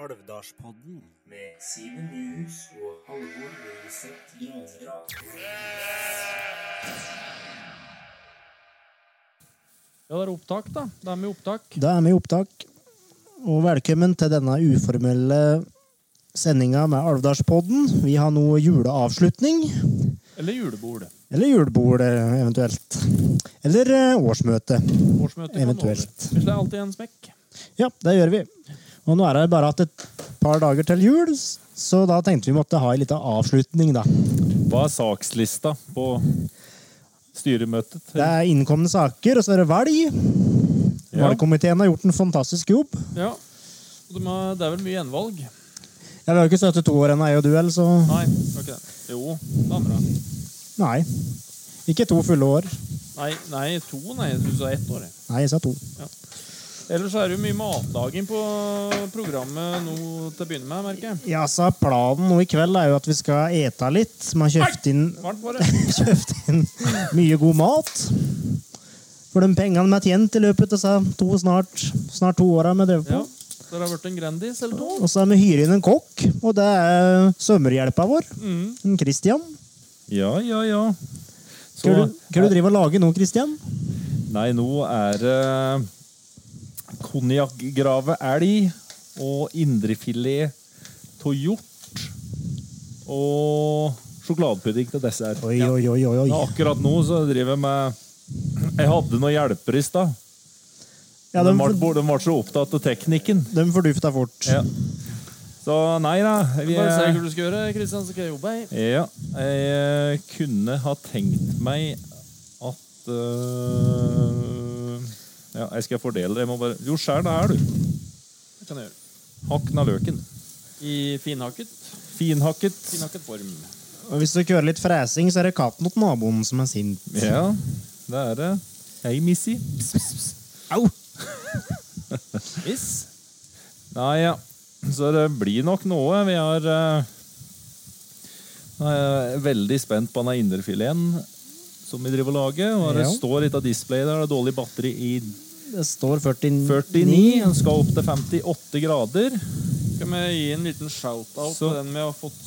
Garasjepodden med Simen Nyhus og Halvor Løseth Grandrag. Ja, det er opptak, da. Det er med opptak. Da er vi i opptak. Og velkommen til denne uformelle sendinga med Alvdalspodden. Vi har nå juleavslutning. Eller julebord. Eller julebord, eh, eventuelt. Eller eh, årsmøte. Årsmøte. kan Eventuelt. over. Men det er alltid en smekk. Ja, det gjør vi. Og nå er det bare at et par dager til jul, s- så da tenkte vi måtte ha en liten avslutning, da. Hva er sakslista på styremøtet? Det er innkomne saker, og så er det velg. Ja. Valgkomiteen har gjort en fantastisk jobb. Ja. Og de har- Det er vel mye gjenvalg? Ja, vi har jo ikke støttet to år ennå, jeg og du, eller så Nei, det var ikke det. Jo, det andre. Nei. Ikke to fulle år. Nei, nei, to, nei. Jeg syns det er ett år. jeg. Nei, jeg sa to. Ellers så er det jo mye matlaging på programmet nå til å begynne med, merker jeg. Ja, så planen nå i kveld er jo at vi skal ete litt. Vi har kjøpt inn, Varmt var det. kjøpt inn mye god mat. For de pengene vi har tjent i løpet av disse to, snart, snart to åra vi har drevet på. Ja. Så det har vært en Grandis eller to. Og så har vi hyret inn en kokk, og det er svømmerhjelpa vår. En Christian. ja, ja, ja. Så, Hva er du, hva er du driver og lager nå, Christian? nei, nå er det konjakkgrave elg og indrefilet av hjort og sjokoladepudding til dessert. Oi, oi, oi, oi. Ja, oi. akkurat nå så driver jeg med Jeg hadde noen hjelpere i stad. Ja, de, de, var- for- de var så opptatt av teknikken. de fordufta fort. Ja. Så nei da. Vi, Bare se hva du skal gjøre, Kristian, så skal jeg jobbe. Jeg. Ja, jeg eh, kunne ha tenkt meg at eh, Ja, jeg skal fordele det. Jeg må bare Jo, skjær det her, du. Det kan jeg gjøre. Hakk den av løken. I finhakket. Finhakket. Finhakket form. Og hvis du kjører litt fresing, så er det katten til naboen som er sint. Ja, det er det. Hei, Missy. Pss, pss, pss. Au! Miss. Nei, ja. Så det blir nok noe. Vi har eh, jeg er veldig spent på den indrefileten som vi driver og lager. Og det Ja. står litt av displayet der. Det er dårlig batteri i Det står 49. 49. Den skal opp til 58 grader. Skal vi gi en liten shout-out Så- til den vi har fått,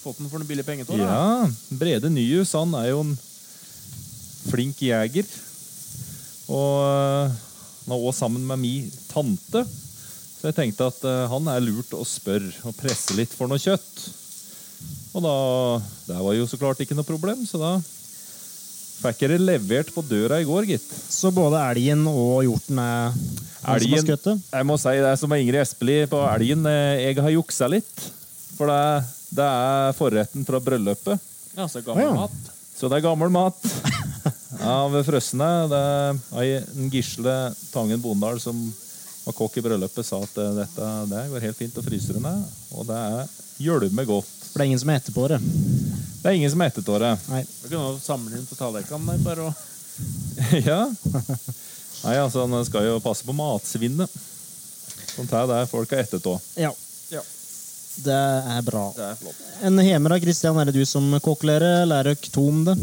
fått den for noen billige penger til? da? Ja, Brede Nyhus han er jo en flink jeger. Og øh, han er også sammen med min tante. Så jeg tenkte at øh, han er lurt å spørre og presse litt for noe kjøtt. Og da Det var jo så klart ikke noe problem, så da fikk jeg det levert på døra i går, gitt. Så både elgen og hjorten er han som har Elgen, skutt det? jeg må si det er som med Ingrid Espelid på elgen. eh, Jeg har juksa litt. For det, det er forretten fra bryllupet. Ja, så gammel Å, ja. mat. Så det er gammel mat av Frøsne. Det er ei- en Gisle Tangen Bondal som var kokk i bryllupet, sa at eh, dette det går helt fint å fryse det ned. Og det er gjølme godt. For det er ingen som er etterpå det. Det er ingen som heter Tåre. Nei. Du kan jo samle inn på tallerkenen der, bare og ja. Nei, altså, en skal jo passe på matsvinnet. Sånt her, det er folk er ettertå. Ja. Ja. Det er bra. Det er flott. En hemer av Kristian, er det du som kokkelerer? eller er dere to om det?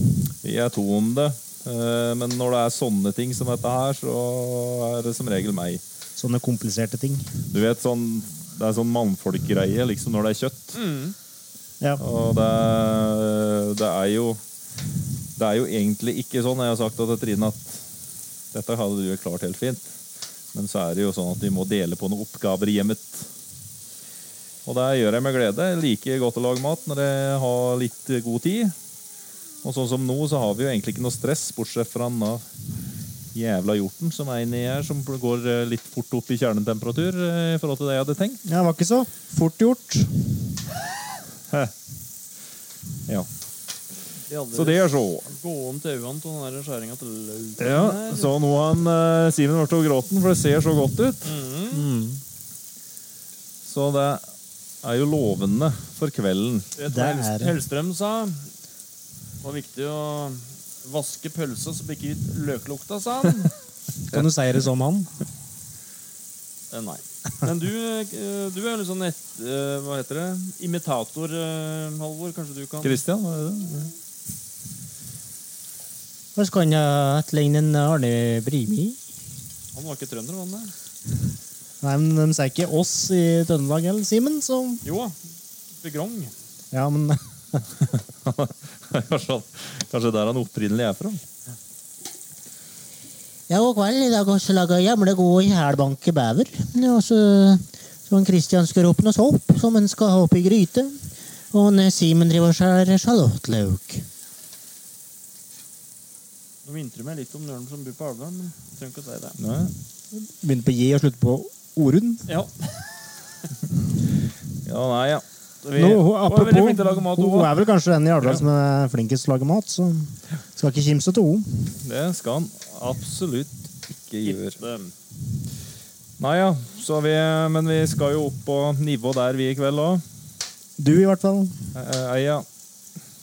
Vi er to om det. Eh, Men når det er sånne ting som dette her, så er det som regel meg. Sånne kompliserte ting. Du vet, sånn, Det er sånn mannfolkgreie liksom når det er kjøtt. Ja. Og det, det er jo Det er jo egentlig ikke sånn. Jeg har sagt til Trine at dette hadde du jo klart helt fint. Men så er det jo sånn at vi må dele på noen oppgaver i hjemmet. Og det gjør jeg med glede. Jeg liker godt å lage mat når jeg har litt god tid. Og sånn som nå, så har vi jo egentlig ikke noe stress, bortsett fra den da jævla hjorten som er inni her, som går eh, litt fort opp i kjernetemperatur eh, i forhold til det jeg hadde tenkt. ja, det var ikke så fort gjort. Ja. De aldri Så det er så. gåen til øynene til den der skjæringa til lauken Ja, der. så nå har han eh, Simen vært over gråten, for det ser så godt ut. Mm. Så det er jo lovende for kvelden. Vet du Det hva Helst- er- Hellstrøm sa det var viktig å vaske pølsa så det ikke gikk løklukta, sa han. Kan du si det som han? Eh, Nei. Men du, eh, du er jo litt sånn et, eh, Hva heter det? Imitator, eh, Halvor. Kanskje du kan Kristian, hva er det? Hva skal han etterligne en Arne Brimi? Han var ikke trønder, var han det? Nei, men de sier ikke oss i Trøndelag eller Simen, så Jo, Begrong. Ja, men kanskje, han- kanskje der han opprinnelig er fra. Ja, god kveld. I dag har vi laga jamle gode hælbanke bever. Og så så en Kristian skal opp noe sopp som en skal ha opp i gryte. Og en eh, Simen driver og skjærer sjalottløk. Nå vintrer meg litt om Nørn som bor på Alvdal, men jeg trenger ikke å si det. Nei. Begynte på J og slutt på Orund. Ja, Ja, nei, ja. vi, Hun er veldig flink til å lage mat, hun også. vel kanskje den i Alvdal som er flinkest til å lage mat, så skal ikke kimse til henne. Det skal han absolutt ikke gjøre. Gitt, eh, Nei ja, så vi, men vi skal jo opp på nivå der vi i kveld Eh, òg. Du, i hvert fall. Eia.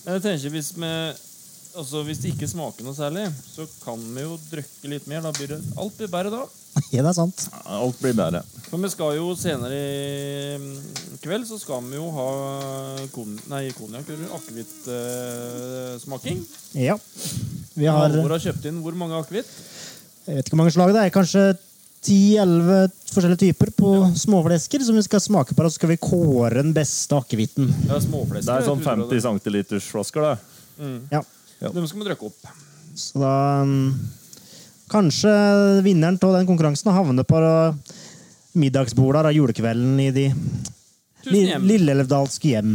Men jeg tenker hvis vi Altså Hvis det ikke smaker noe særlig, så kan vi jo drikke litt mer. Da blir det alt blir bedre da. Ja, det er sant. Alt blir bedre. For vi skal jo senere i mm, kveld så skal vi jo ha kon nei, konjakk, akevittsmaking. Ja. Uh, Vi har Halvor har kjøpt inn hvor mange akevitt? jeg vet ikke hvor mange slag det er, kanskje 10-11 forskjellige typer på småflesker som vi skal smake på. Og så skal vi kåre den beste akevitten. Det er småflesker. Det er sånn jeg tror 50 centiliters flasker, det. Ja. ja. Dem skal vi drikke opp. Så da mm, Kanskje vinneren av den konkurransen havner på middagsbordet av julekvelden i de Tusen hjem. lilleelvdalske hjem.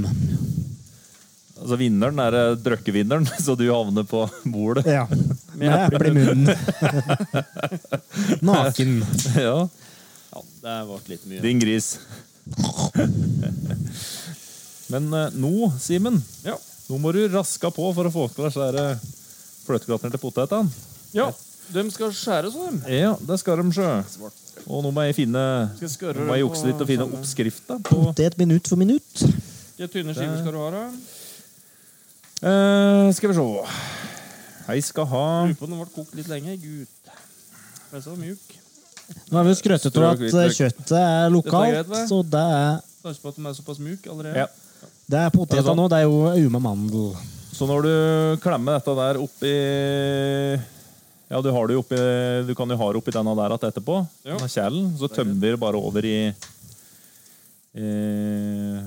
Altså Vinneren er eh, drøkkevinneren, så du havner på bordet. Ja. Med eple i munnen. Naken. Ja, Ja, det ble litt mye. Din gris. Men eh, nå, Simen, Ja. nå må du raska på for å få til disse her, eh, fløtegraterne til potetene. ja. De skal skjæres, så dem. Ja, det skal de sjø. Og nå må jeg finne Skal jeg Nå skarre må på jeg jukse litt og finne samme- oppskrifta på Potet minutt for minutt. Hvilke tynne skiver skal du ha, da? Eh, Skal vi se. Jeg skal ha Lurer på om den ble kokt litt lenge. Gud. Men så mjuk. Nå har vi jo skrøtet av at eh, kjøttet er lokalt, greit, hva? så det er Det er ikke på at den er såpass mjuk allerede. ja. Det er poteter Er det sånn? nå, det er jo Auma mandel. Så når du klemmer dette der oppi Ja, du har det jo oppi Du kan jo ha det oppi denne der igjen etterpå. Ja. Denne kjelen. Så tømmer du bare over i eh,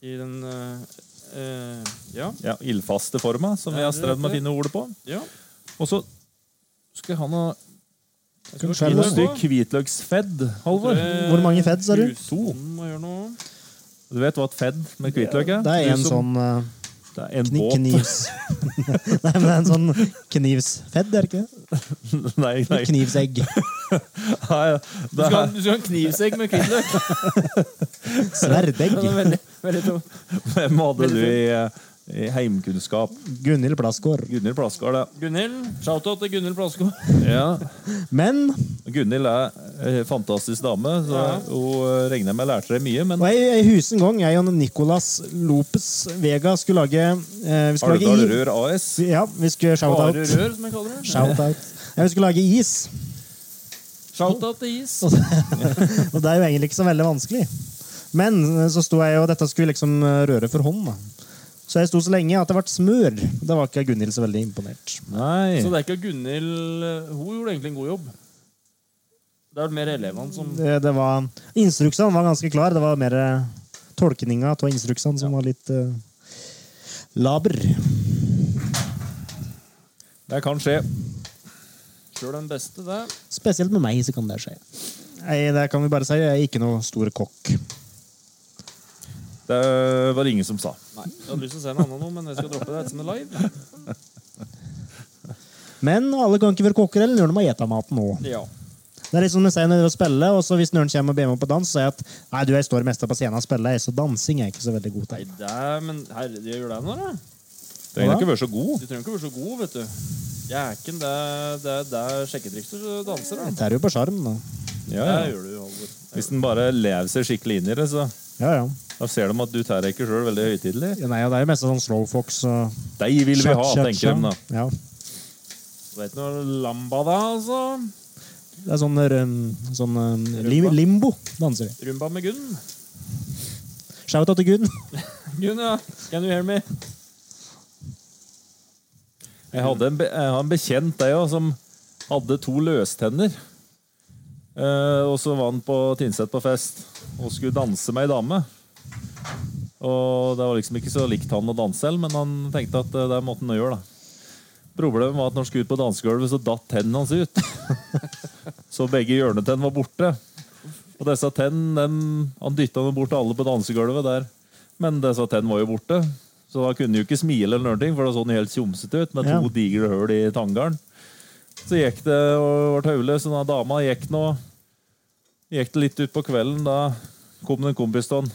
I den eh, eh, Ja. ja, ildfaste forma, som vi har strevd med å finne ordet på. ja. Og så skal jeg ha noe Skal du Et skjelle den? stykk hvitløksfedd, Halvor. Hvor mange fett, sa Eh, du? To. Må gjøre noe. Du vet hva et fedd med hvitløk er? Det er en Du som- sånn eh, Det er en kni båt. knivs... Nei, men det er en sånn knivsfedd, er det ikke? det? nei, nei. Et knivsegg. nei, Du det skal, er, ha- du skal ha en knivsegg med hvitløk. Sverdegg. Den er veldig, veldig tung. hvem hadde du i, eh, i heimkunnskap? Gunhild Plassgaard. Gunhild Plaskar, det. Gunhild. Shout-out til Gunhild Plasko. Ja. Men Gunhild er en fantastisk dame. Så Ja. Hun eh, regner jeg med lærte deg mye, men og jeg, jeg husker en gang jeg og Nicolas Lopez Vega skulle lage eh, Vi skulle Alvdal lage is. Rør AS Ja, vi skulle Are shout-out. Rør, som jeg kaller det. Shout-out. Ja, vi skulle lage is, Shout-out til is. og det er jo egentlig ikke så veldig vanskelig. Men eh, så sto jeg og dette skulle vi liksom eh, røre for hånd. da. Så jeg sto så lenge at det ble smør. Da var ikke Gunhild så veldig imponert. Nei. Så det er ikke Gunhild eh, Hun gjorde egentlig en god jobb. Det er vel mer elevene som Det, det var, instruksene var ganske klar. Det var mer eh, tolkninga av instruksene som var litt eh, laber. Det kan skje. sjøl den beste, det. Spesielt med meg så kan det skje. Nei, det kan vi bare si. Jeg er ikke noe stor kokk. Det eh, var det ingen som sa. Nei, Jeg hadde lyst til å se en annen nå, men jeg skal droppe det ettersom det er live. Men alle kan ikke være kokker eller noen må ete maten nå. Ja. Det er litt som de sier når de spiller, og så hvis noen kommer og ber meg på dans, så sier jeg at nei, du, jeg står mest på scenen og spiller, jeg, så dansing er jeg ikke så veldig god Nei, til. det er, men herre, de gjør det nå, da. Trenger Hva da? ikke være så god. Du trenger ikke være så god, vet du. Jæken, det er, det er, det er sjekketrikser du danser, da. Det er jo på sjarm, da. Ja, Det ja. gjør du, Halvor. Hvis den bare lever seg skikkelig inn i det, så Ja, ja. da ser de at du tær ikke sjøl veldig høytidelig. ja nei, og det er jo mest sånn slowfox og De vil vi ha, tenker de da. Ja. Du vet noe lamba, da, altså? Det er sånn, eh, sånn eh, lim limbo danser vi. Rumba med Gunn. Shout out til Gunn. Gunn, ja. Can you hear me? Jeg hadde en, be jeg har en bekjent, jeg òg, som hadde to løstenner. Eh, og så var han på Tynset på fest og skulle danse med ei dame. Og det var liksom ikke så likt han å danse selv, men han tenkte at eh, det er måten å gjøre, da. Problemet var at når han skulle ut på dansegulvet, så datt tennene hans ut. så begge hjørnetennene var borte. Og disse tennene, dem- han dytta dem bort til alle på dansegulvet der. Men disse tennene var jo borte. Så da kunne han jo ikke smile, eller noe, for da så han helt tjomsete ut med Ja. to digre høl i tanngaren. Så gikk det og ble høvelig, så da dama gikk nå Gikk det litt ut på kvelden, da kom det en kompis til han.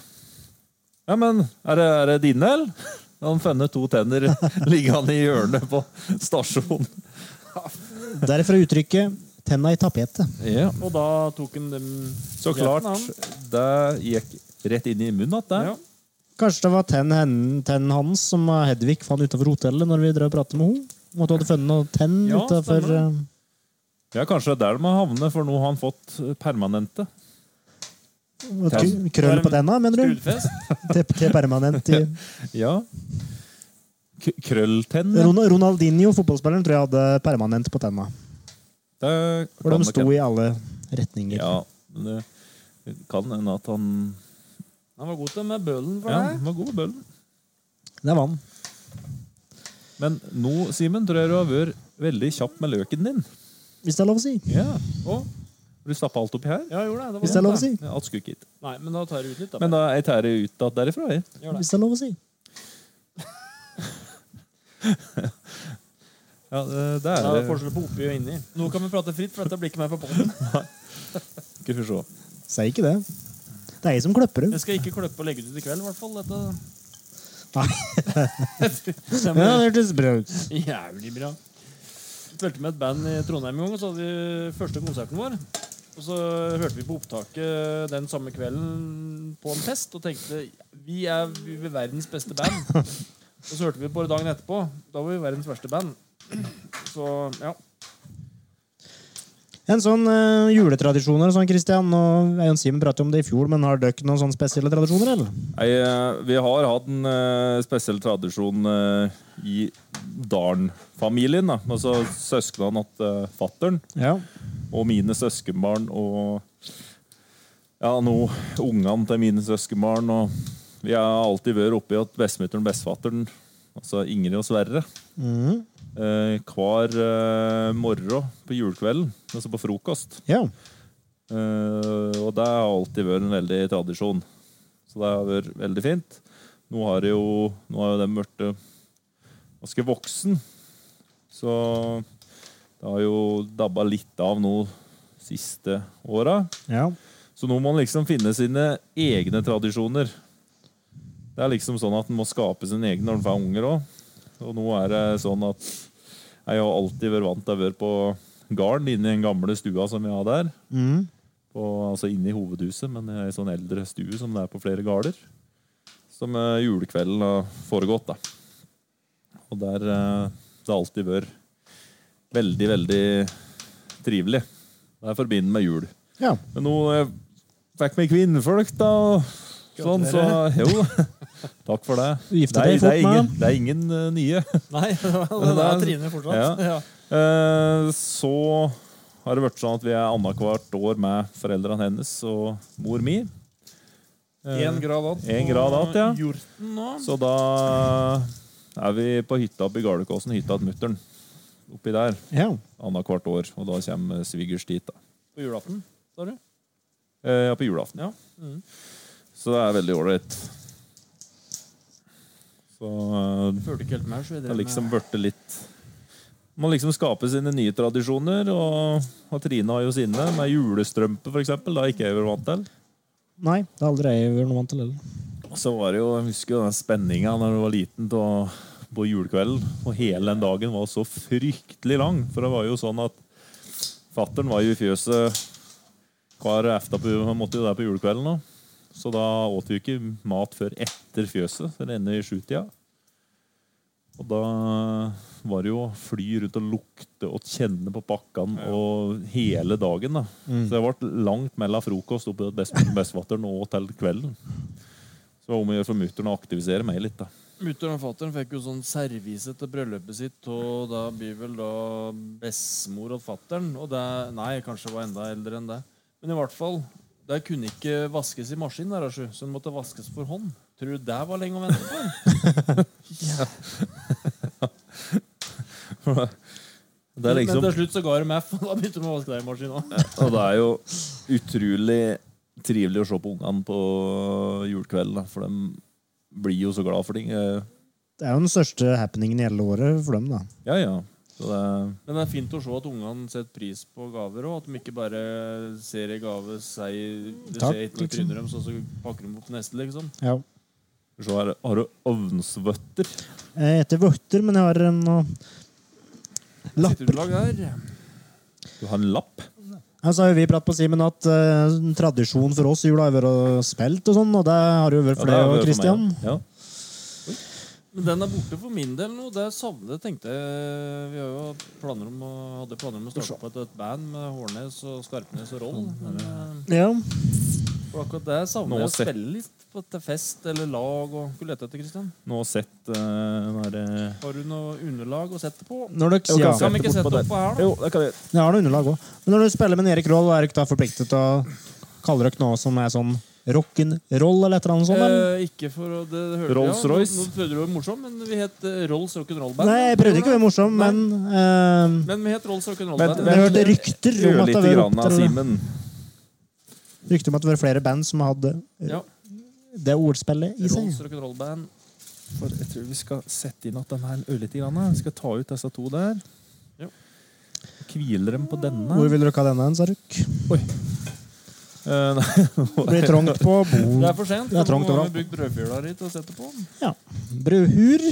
Ja, men er det, er det dine, eller? Da hadde han funnet to tenner liggende i hjørnet på stasjonen. Derfor uttrykket 'tenna i tapetet'. Ja. Og da tok han dem Så klart, det gikk rett inn i munnen at det. Ja. Kanskje det var tenn, hen- tenn hans som Hedvig fant utafor hotellet når vi drev og pratet med henne? Om at du hadde funnet noe tenn Ja, utenfor eh, stemmer Ja, kanskje det er der de må havne, for nå har han fått eh, permanente. um, kr- krøll på tenna, mener du? Skulefest. Til, til permanent i Ja. K krølltenn. ja. Ron- Ronaldinho, fotballspilleren, tror jeg hadde permanent på tenna. Det For kan de nok sto hende. i alle retninger. Ja, men det kan hende at han Han var god til med bølen for Ja, deg. han var god med bøllen. Det er vann. Men nå, Simen, tror jeg du har vært veldig kjapp med løken din. Hvis det er lov å si. Ja. Og du stappa alt oppi her? Ja, gjorde det. det var Hvis det er lov å si. Ja, alt skulle ikke hit. Nei, men da tar jeg ut litt, da. Men da jeg tærer ut at derifra, jeg. Gjør det. Hvis det er lov å si. Ja, det det Ja, det er er det. forskjell på oppi og inni. Nå kan vi prate fritt, for dette blir ikke mer på båten. Skal vi se. Si ikke det. Det er jeg som kløpper det. Jeg skal ikke klippe og legge ut i kveld, i hvert fall. Dette Nei. Det Ja, det blir hørtes bra ut. Jævlig bra. Spilte med et band i Trondheim en gang, og så hadde vi første konserten vår. Og så hørte vi på opptaket den samme kvelden på en fest og tenkte vi er vi er verdens beste band. Og så hørte vi på det dagen etterpå. Da var vi verdens verste band. Så ja. En sånn eh, juletradisjoner og sånn, Christian. Og Eion Simen pratet om det i fjor, men har dere noen sånne spesielle tradisjoner, eller? Nei, eh, vi har hatt en eh, spesiell tradisjon eh, i Darn-familien. da. Altså søsknene til eh, fattern Ja. og mine søskenbarn og ja, nå ungene til mine søskenbarn. Og vi har alltid vært oppi at bestemutteren og bestefatteren, altså Ingrid og Sverre, Mhm. eh, hver eh, morgen på julekvelden, altså på frokost, Ja. Eh, og det har alltid vært en veldig tradisjon. Så det har vært veldig fint. Nå har det jo, nå har jo den blitt ganske voksen. Så det har jo dabba litt av nå siste åra. ja. Så nå må man liksom finne sine egne tradisjoner. Det er liksom sånn at en må skape sine egne når en får unger òg. Og nå er det sånn at jeg har alltid vært vant til å være på garden inne i den gamle stua som vi har der. Mhm. På, altså inne i hovedhuset, men i en sånn eldre stue som det er på flere garder. Som eh, julekvelden har foregått, da. Og der eh, det har alltid vært veldig, veldig trivelig. Det er forbindet med jul. ja. Men nå eh, fikk meg kvinnfolk, da. og Sånn, så Jo. Takk for det. Du gifta Nei, deg det fort med er ingen, han. det er ingen eh, nye. Nei, det er Trine fortsatt. Ja. Ja. Eh, så har det vært sånn at vi er annethvert år med foreldrene hennes og mor mi. Eh, Én grad att. en grad att, ja. Hjorten nå. Så da er vi på hytta oppe i Gardekåsen, hytta til mutter'n. Oppi der ja. annethvert år, og da kommer svigers dit. da. På julaften, sa du? Eh, ja, på julaften, ja. Mm. Så det er veldig ålreit. Så eh, Følte ikke helt med, så vi det drev har liksom med blitt litt Man liksom skaper sine nye tradisjoner, og, og Trine har jo sine, med julestrømpe f.eks. Da ikke jeg var vant til. Nei, det har aldri jeg vært noe vant til heller. Og så var det jo, Jeg husker jo den spenninga da du var liten til å, på julekvelden. Og hele den dagen var så fryktelig lang. For det var jo sånn at fattern var jo i fjøset hver efta på, han måtte jo der på julekvelden. Da. Så da åt vi jo ikke mat før etter fjøset. For det ender i sjutida. Og da var det jo å fly rundt og lukte og kjenne på pakkene og hele dagen. da. Så det ble langt mellom frokost oppe hos best- bestefatteren og til kvelden. Så det var om å gjøre for mutter'n å aktivisere meg litt. da. Mutter'n og fatter'n fikk jo sånn servise til bryllupet sitt, og da blir vel da bestemor og fatter'n Og det Nei, kanskje det var enda eldre enn det. Men i hvert fall, der kunne ikke vaskes i maskin, der, Asju, så den måtte vaskes for hånd. Tror du det var lenge å vente på? Det er Men liksom til slutt så ga det meg, for da begynte de å vaske deg i maskin òg. Og det er jo utrolig trivelig å se på ungene på julekvelden, da, for de blir jo så glad for ting. Eh, Det er jo den største happeningen i hele året for dem, da. Ja, ja. Så det er, Men det er fint å se at ungene setter pris på gaver, og at de ikke bare ser ei gave, sier det Takk, skjer ikke noe liksom. tryner dem, så, så pakker de opp neste, liksom. Ja. så her, har du ovnsvøtter? Jeg heter Vøtter, men jeg har en eh, og... lapper. Sitterlag her. Du har en lapp? Ja, så har jo vi pratet på Simen at eh, en tradisjon for oss i jula har vært spilt og sånn, og det har jo Ja, vært for deg det er og for Christian. meg, Ja. Men den er borte for min del nå. Det savner jeg, tenkte jeg. Vi har jo planer om å, hadde planer om å starte på et, et band med Hårnes og Skarpnes og Roll. Men eh, Ja. for akkurat det savner Nå jeg å se- spille litt på til fest eller lag. og Skulle lete etter, Kristian. Nå har jeg sett uh, den der, Har du noe underlag å sette på? Når dere, Jo, ja. kanskje. Kan vi ikke Sette bort sette på opp på her, da? Jo, det kan jeg. Jeg har noe underlag òg. Men når du spiller med Erik Roll, er dere da forpliktet til å kalle dere noe som er sånn rock'n'roll eller et eller annet sånt? Eller? Eh, ikke for å det hørte Rolls jeg. Nå- Royce. Nå prøvde du å være morsom, men vi het eh, Rolls Rock'n'Roll Band. Nei, jeg prøvde ikke å være morsom, men eh, Men vi het Rolls Rock'n'Roll Men- Band. Jeg hørte rykter om Gjør at det litt var grann av rykter- Simen. rykter om at det var flere band som hadde Ja, det ordspillet i seg. Rolls Rock'n'Roll Band. For jeg tror vi skal sette inn at den her ørlite grann. da. Vi skal ta ut disse to der. Ja. Hviler dem på denne. Hvor vil dere ha denne hen, sa dere? Eh, nei, Det blir trangt på Det bo- er for sent. Det er trangt Nå har overalt. vi brukt brødfjøla di til å sette på. bruhur.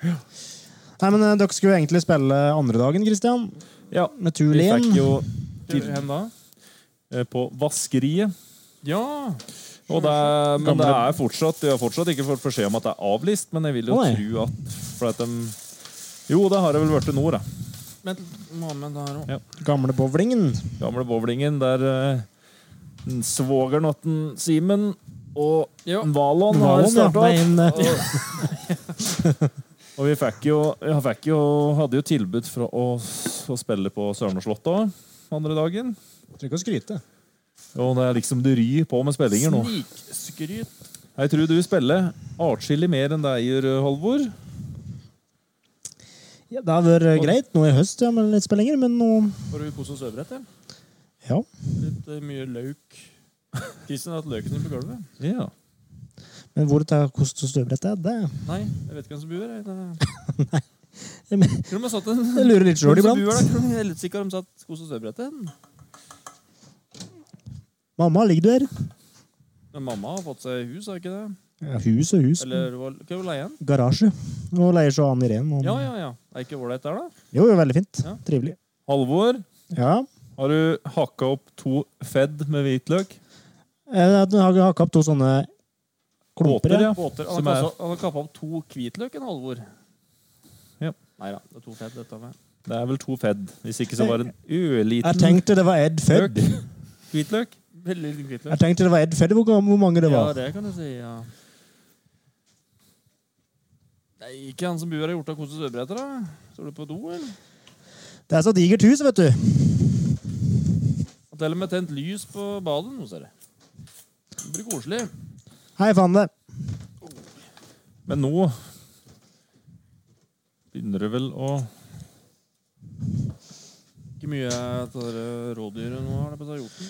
Nei, men eh, Dere skulle jo egentlig spille andre dagen, Christian. ja, Med vi Tulin. fikk jo Til hen da? eh, på vaskeriet. Ja! Og det er, men det er fortsatt Vi har fortsatt ikke fått beskjed om at det er avlyst, men jeg vil jo Oi. tro at For at de Jo, det har det vel blitt nå, da. Vent, må ha med den her òg. Gamle bowlingen. Gamle bowlingen der eh, en svogeren og en Simen og Ja. en Valon har Valen, ja. starta Det er en, eh, Og vi fikk jo, jeg fikk jo hadde jo tilbud fra å, å spille på Sørlandsslottet òg andre dagen. Trenger ikke å skryte. Og det er liksom det ryr på med spillinger nå. Snikskryt. Jeg tror du spiller atskillig mer enn deg gjør, Halvor. Ja, det har vært eh, greit nå i høst, ja, med litt spillinger, men nå Har du kos oss overrett, ja? Ja. Litt eh, mye løk. Kristian har hatt løken din på gulvet. Ja. Men hvor det koster støvbrett, er det? Nei, jeg vet ikke hvem som bor her. jeg. Det... Tror du de har satt en Jeg lurer litt sjøl Hvem som bor her, iblant. tror du? Jeg er litt sikker om de satt kos oss overrett igjen. Mamma, ligger du her? Men mamma har fått seg hus, har ikke det? Ja, hus og hus. Eller hva hva er det leien? Garasje. Og leier så Ann Irén. og- Ja, ja, ja. Er ikke ålreit der, da? Jo, jo, veldig fint. Ja. Trivelig. Halvor, Ja. har du hakka opp to fedd med hvitløk? Eh, Du har hakka opp to sånne klumper. Båter, ja. Ja. Båter. Han Som har er- kastet- han har kappa opp to hvitløk, en Halvor. Ja. Nei da. Det er to fett, dette med. Det er vel to fedd. Hvis ikke så var det en Jeg ørliten tenkte det var Ed Fedd. løk. Hvitløk? Veldig liten hvitløk. Jeg tenkte det var Ed Fedd, hvor, hvor mange det Ja, var. det kan du si, ja. Nei, ikke han som bor her i Hjorta koser sørbretter, da. Står du på do, eller? Det er så digert hus, vet du. Han teller med tent lys på badet nå, ser jeg. Det blir koselig. Hei, faen det. Men nå begynner det vel å Ikke mye av dette rådyret nå har det på seg hjorten.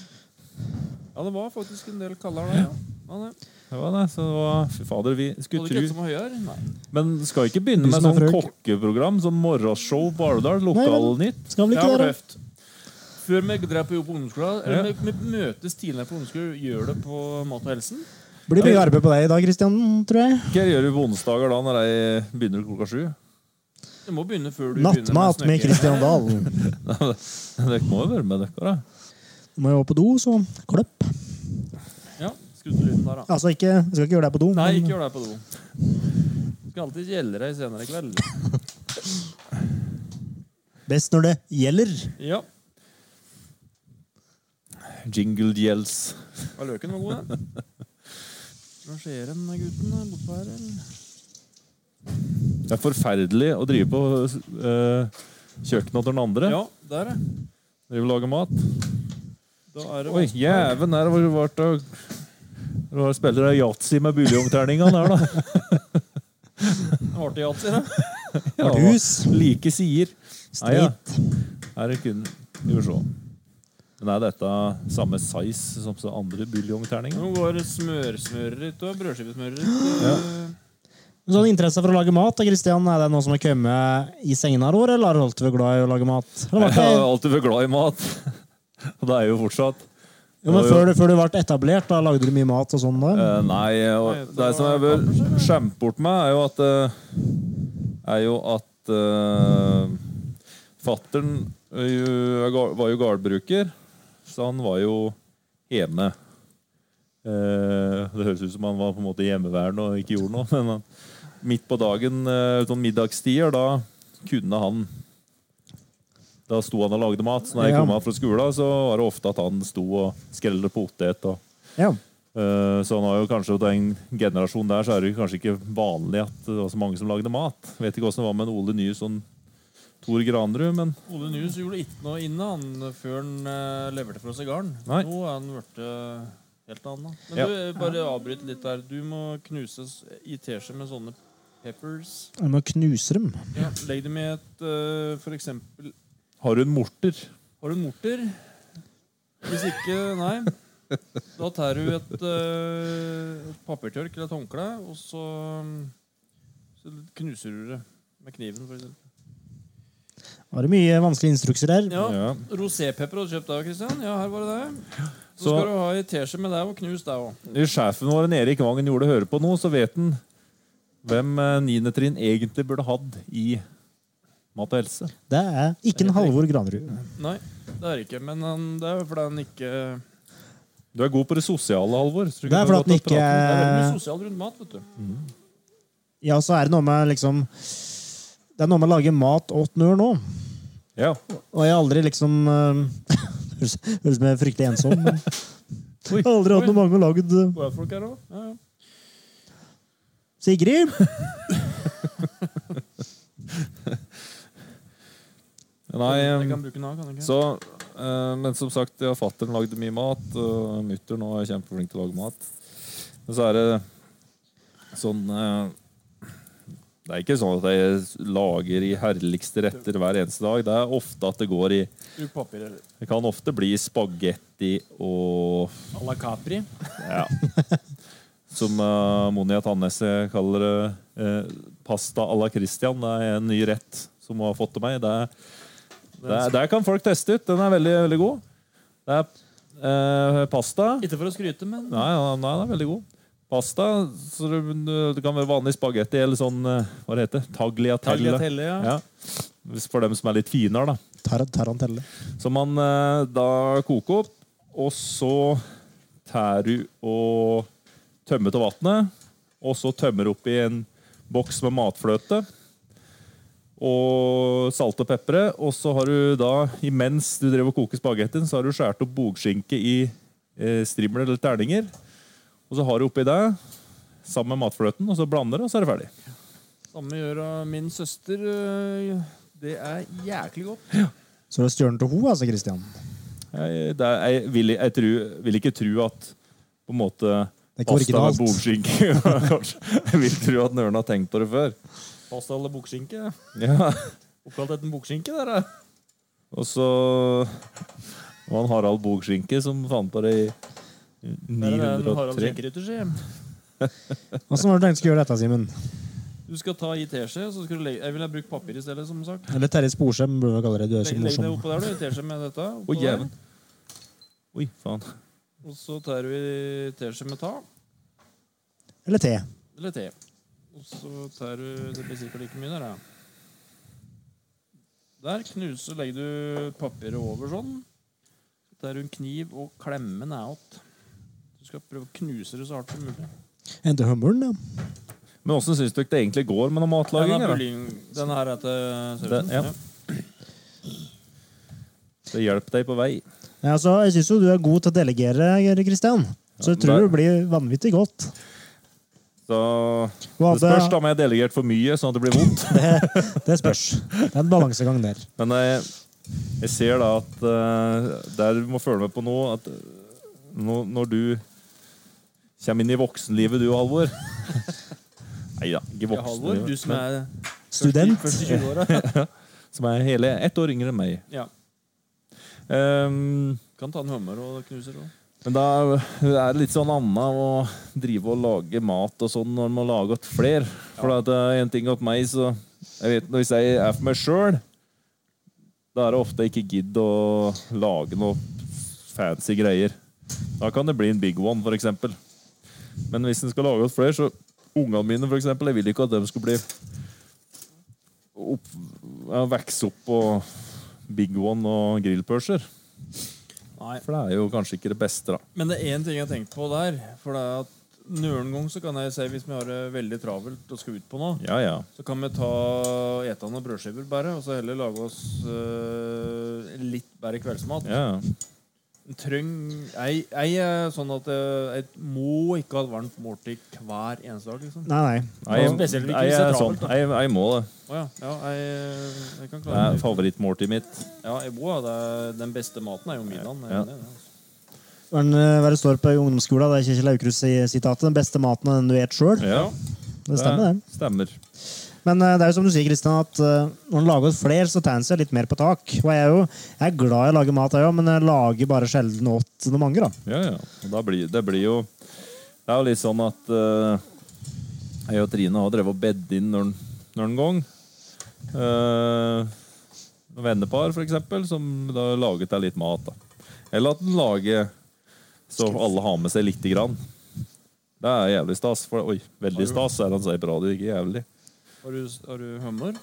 Ja, det var faktisk en del kaller der, ja. ja det. Det var det. Så det var, fy fader, vi Hadde skulle ikke tro et som var høyere? Nei. Men skal ikke begynne med Lysen og sånn frøk. kokkeprogram som morgenshow på Alvdal, Lokalnytt. Skal vel Det ikke var det? da? tøft. Før vi drar på jobb på ungdomsskolen, eller vi, vi møtes tidligere på ungdomsskolen, gjør det på Mat og helsen. Blir mye arbeid på deg i dag, Christian, tror jeg. Hva gjør du på onsdager da når jeg begynner klokka sju? Du må begynne før du Nattmat begynner med snøkking. Christian Dahl. Du Dere må jo være med, dere. da. må jo på do, så kløpp. Ja, skru til lyden der, da. Altså, ikke, jeg skal ikke gjøre det på do. Nei, men- eh, ikke gjør deg på do. Skal alltid gjelde deg senere i kveld. Best når det gjelder. Ja. Jingle gjelds. Var løken var god, den? Hva skjer den med gutten der bortpå her? eller? Det er forferdelig å drive på eh, kjøkkenet til den andre. Ja, der, ja. Drive og lage mat. Da er det Oi, jæven, der var det vart av det var spiller av yatzy med buljongterningene her, da. artig yatzy, da. Ja, Hus. Like sider. Nei, ja. Straight. Her er kun Skal vi se. Men er dette samme size som så andre buljongterninger? Nå går smørsmøret ditt og Eh, brødskivesmøret ditt. Sånn interesse for å lage mat, da, Christian, er det noe som har kommet i senere år, eller har du alltid vært glad i å lage mat? Eller Jeg var det, har alltid vært glad i mat. Og det er jeg jo fortsatt. jo, men før du, før du ble etablert, da lagde du mye mat og sånn da? Eh, nei, og det som jeg bør skjemme bort meg, er jo at eh, Er jo at uh, Fattern eh, var jo gardbruker, så han var jo hjemme. Eh, det høres ut som han var på en måte hjemmeværende og ikke gjorde noe, men han, midt på dagen, eh, sånn middagstider, da kunne han Da sto han og lagde mat. Så når jeg Ja. kom av fra skolen, så var det ofte at han sto og skrelle potet. og Ja. Eh, Så han har jo kanskje den generasjonen der, så er det jo kanskje ikke vanlig at det var så mange som lagde mat. Vet ikke åssen det var med en Ole Nyhus og en Tor Granrud, men Ole Nus gjorde ikke noe inne han før han eh, leverte fra seg garden. Nei. Nå er han blitt eh, helt annen. Men Ja. du, eh, bare avbryt litt der. Du må knuses i teskje med sånne peppers. Jeg må knuse dem. Ja, legg dem i et eh, For eksempel har du en morter? Har du morter? Hvis ikke, nei. Da tar du et eh, et papirtørk eller et håndkle, og så, så knuser du det med kniven. For eksempel. Var det mye vanskelige instrukser her? ja. Ja. Rosépepper har du kjøpt deg, Kristian. Ja, her var det det. Så, Så- skal du ha ei teskje med deg og knus deg òg. Når sjefen vår en Erik Vangen gjorde høre på nå, så vet han hvem eh, niende trinn egentlig burde hatt i mat og helse. Det er ikke en Halvor Granerud. Nei, det er det ikke. Men han- det er jo fordi han ikke Du er god på det sosiale, Halvor. så du Det er kan fordi at godt han prate. ikke Det er veldig mye sosialt rundt mat, vet du. Ja, så er det noe med liksom Det er noe med å lage mat åt nør nå. Ja. Og jeg har aldri liksom eh, Høres høres ut som jeg er fryktelig ensom. men Jeg har eh. aldri hatt noe mange å lage det. Hvor er folk her også? Ja, ja. Sigrid? Nei, Jeg eh, kan bruke den av, kan jeg ikke? Så, eh, men som sagt, ja, fatteren lagde mye mat, og mutter'n er kjempeflink til å lage mat. Men så er det sånn eh, Det er ikke sånn at jeg lager i herligste retter hver eneste dag. Det er ofte at det går i Bruk papir eller Det kan ofte bli spagetti og à la Capri. ja. Som eh, Monia Tannese kaller det. eh, pasta à la Christian. Det er en ny rett som hun har fått til meg. Det er, det er, der kan folk teste ut. Den er veldig, veldig god. Det er eh, pasta Nei, Ikke for å skryte, men nei, nei, den er veldig god. Pasta så det, det kan være vanlig spagetti eller sånn eh, Hva det heter Tagliatelle. Tagliatelle, ja. Ja. Hvis- For dem som er litt finere, da. Tar tarantelle. Som man eh, da koker opp, og så tær du og tømmer til vannet, og så tømmer du oppi en boks med matfløte og salt og pepper. Og så har du da, imens du driver og koker spagettien, så har du skåret opp bogskinke i eh, strimler eller terninger. Og så har du oppi det sammen med matfløten, og så blander du, og så er det ferdig. Samme gjør av min søster. øh, Det er jæklig godt. Så er det stjørnen til ho, altså, Christian. Jeg, det er, jeg, vil, jeg tru, vil ikke tro at på en måte Det er pasta med ikke originalt. bogskinke Kanskje. Jeg vil tro at Nøren har tenkt på det før. Pasta eller bokskinke? Ja. Oppkalt etter en bokskinke, der, da. Og så var han Harald Bogskinke som fant på det i Der er den Harald 903. Skinkerytter, sier jeg. Åssen var det du tenkt å skulle gjøre dette, Simen? Du skal ta i teskje, så skal du legge Jeg ville ha brukt papir i stedet, som sagt. Eller Terje Sporsem, burde vi kalle det. Du er så Legg, legg det morsom. oppå der, du. i Teskje med dette. oppå Å, jæven. der. Oi, faen. Og så tar du i teskje med ta, Eller te. eller te. Og så tar du Det blir sikkert like mye der, ja. Der knuser, legger du papiret over sånn. Så tar du en kniv og klemmer den out. Du skal prøve å knuse det så hardt som mulig. En til hummeren, ja. Men åssen syns dere det egentlig går med noe matlaging? Den, er da? bullying. den her er til Den- sausen. ja. Det hjelper deg på vei. ja så jeg syns jo du er god til å delegere, Christian. Så jeg men tror det- det blir vanvittig godt. Så Hva det spørs hadde- da om jeg har delegert for mye, sånn at det blir vondt. Det, det spørs. Det er en balansegang der. Men jeg, Jeg ser da at eh, Der må følge med på nå at eh, nå- når du kommer inn i voksenlivet, du, Halvor Nei da, ikke Ja, Halvor, du voksenlivet. som er Student. Første 20 åra. Som er hele ett år yngre enn meg. Ja. Ehm, Kan ta en hummer og knuse òg. men da er det litt sånn annet å drive og lage mat og sånn når man lager til flere. For at det er en ting at meg, så jeg vet, Hvis jeg er for meg sjøl, da er det ofte jeg ikke gidder å lage noe fancy greier. Da kan det bli en big one, for eksempel. Men hvis en skal lage til flere, så Ungene mine, for eksempel, jeg vil ikke at de skal bli opp, ja, vokse opp på big one og grillpølser. Nei. For det er jo kanskje ikke det beste, da. Men det er én ting jeg har tenkt på der. For det er at noen ganger så kan jeg si, hvis vi har det veldig travelt og skal ut på noe, Ja, ja. så kan vi ta ete noen brødskiver bare, og så heller lage oss øh, litt bedre kveldsmat. ja. En Trøng, jeg, jeg er sånn at øh, jeg må ikke ha et varmt måltid hver eneste dag, liksom. Nei, nei. Nei, Jeg, Spesielt ikke jeg hvis det er er sånn. travelt, da. Jeg, jeg må det. Å ja. ja jeg, jeg kan Det klare er det. favorittmåltidet mitt. Ja, jeg må, ha det. Den beste maten er jo middagen. Jeg Ja. er enig i det, altså. Hva er den, eh, hva det står på i ungdomsskolen? Det er Kjetil Aukrust-sitatet. Den beste maten er den du et sjøl. Ja, Det stemmer, det. Stemmer. Men eh, det er jo som du sier, Kristian, at eh, når en lager flere, så tar en seg litt mer på tak. Og jeg er jo jeg er glad i å lage mat, jeg òg, men jeg lager bare sjelden åt noen mange, da. Ja, ja. Og Da blir, det blir jo Det er jo litt sånn at eh, jeg og Trine har drevet og bedt inn noen, noen gang. Eh, vennepar, for eksempel, som da laget deg litt mat. da. Eller at den lager så alle har med seg lite grann. Det er jævlig stas. For, oi, veldig stas er det han sier på radio, ikke jævlig. Har du, har du hummer?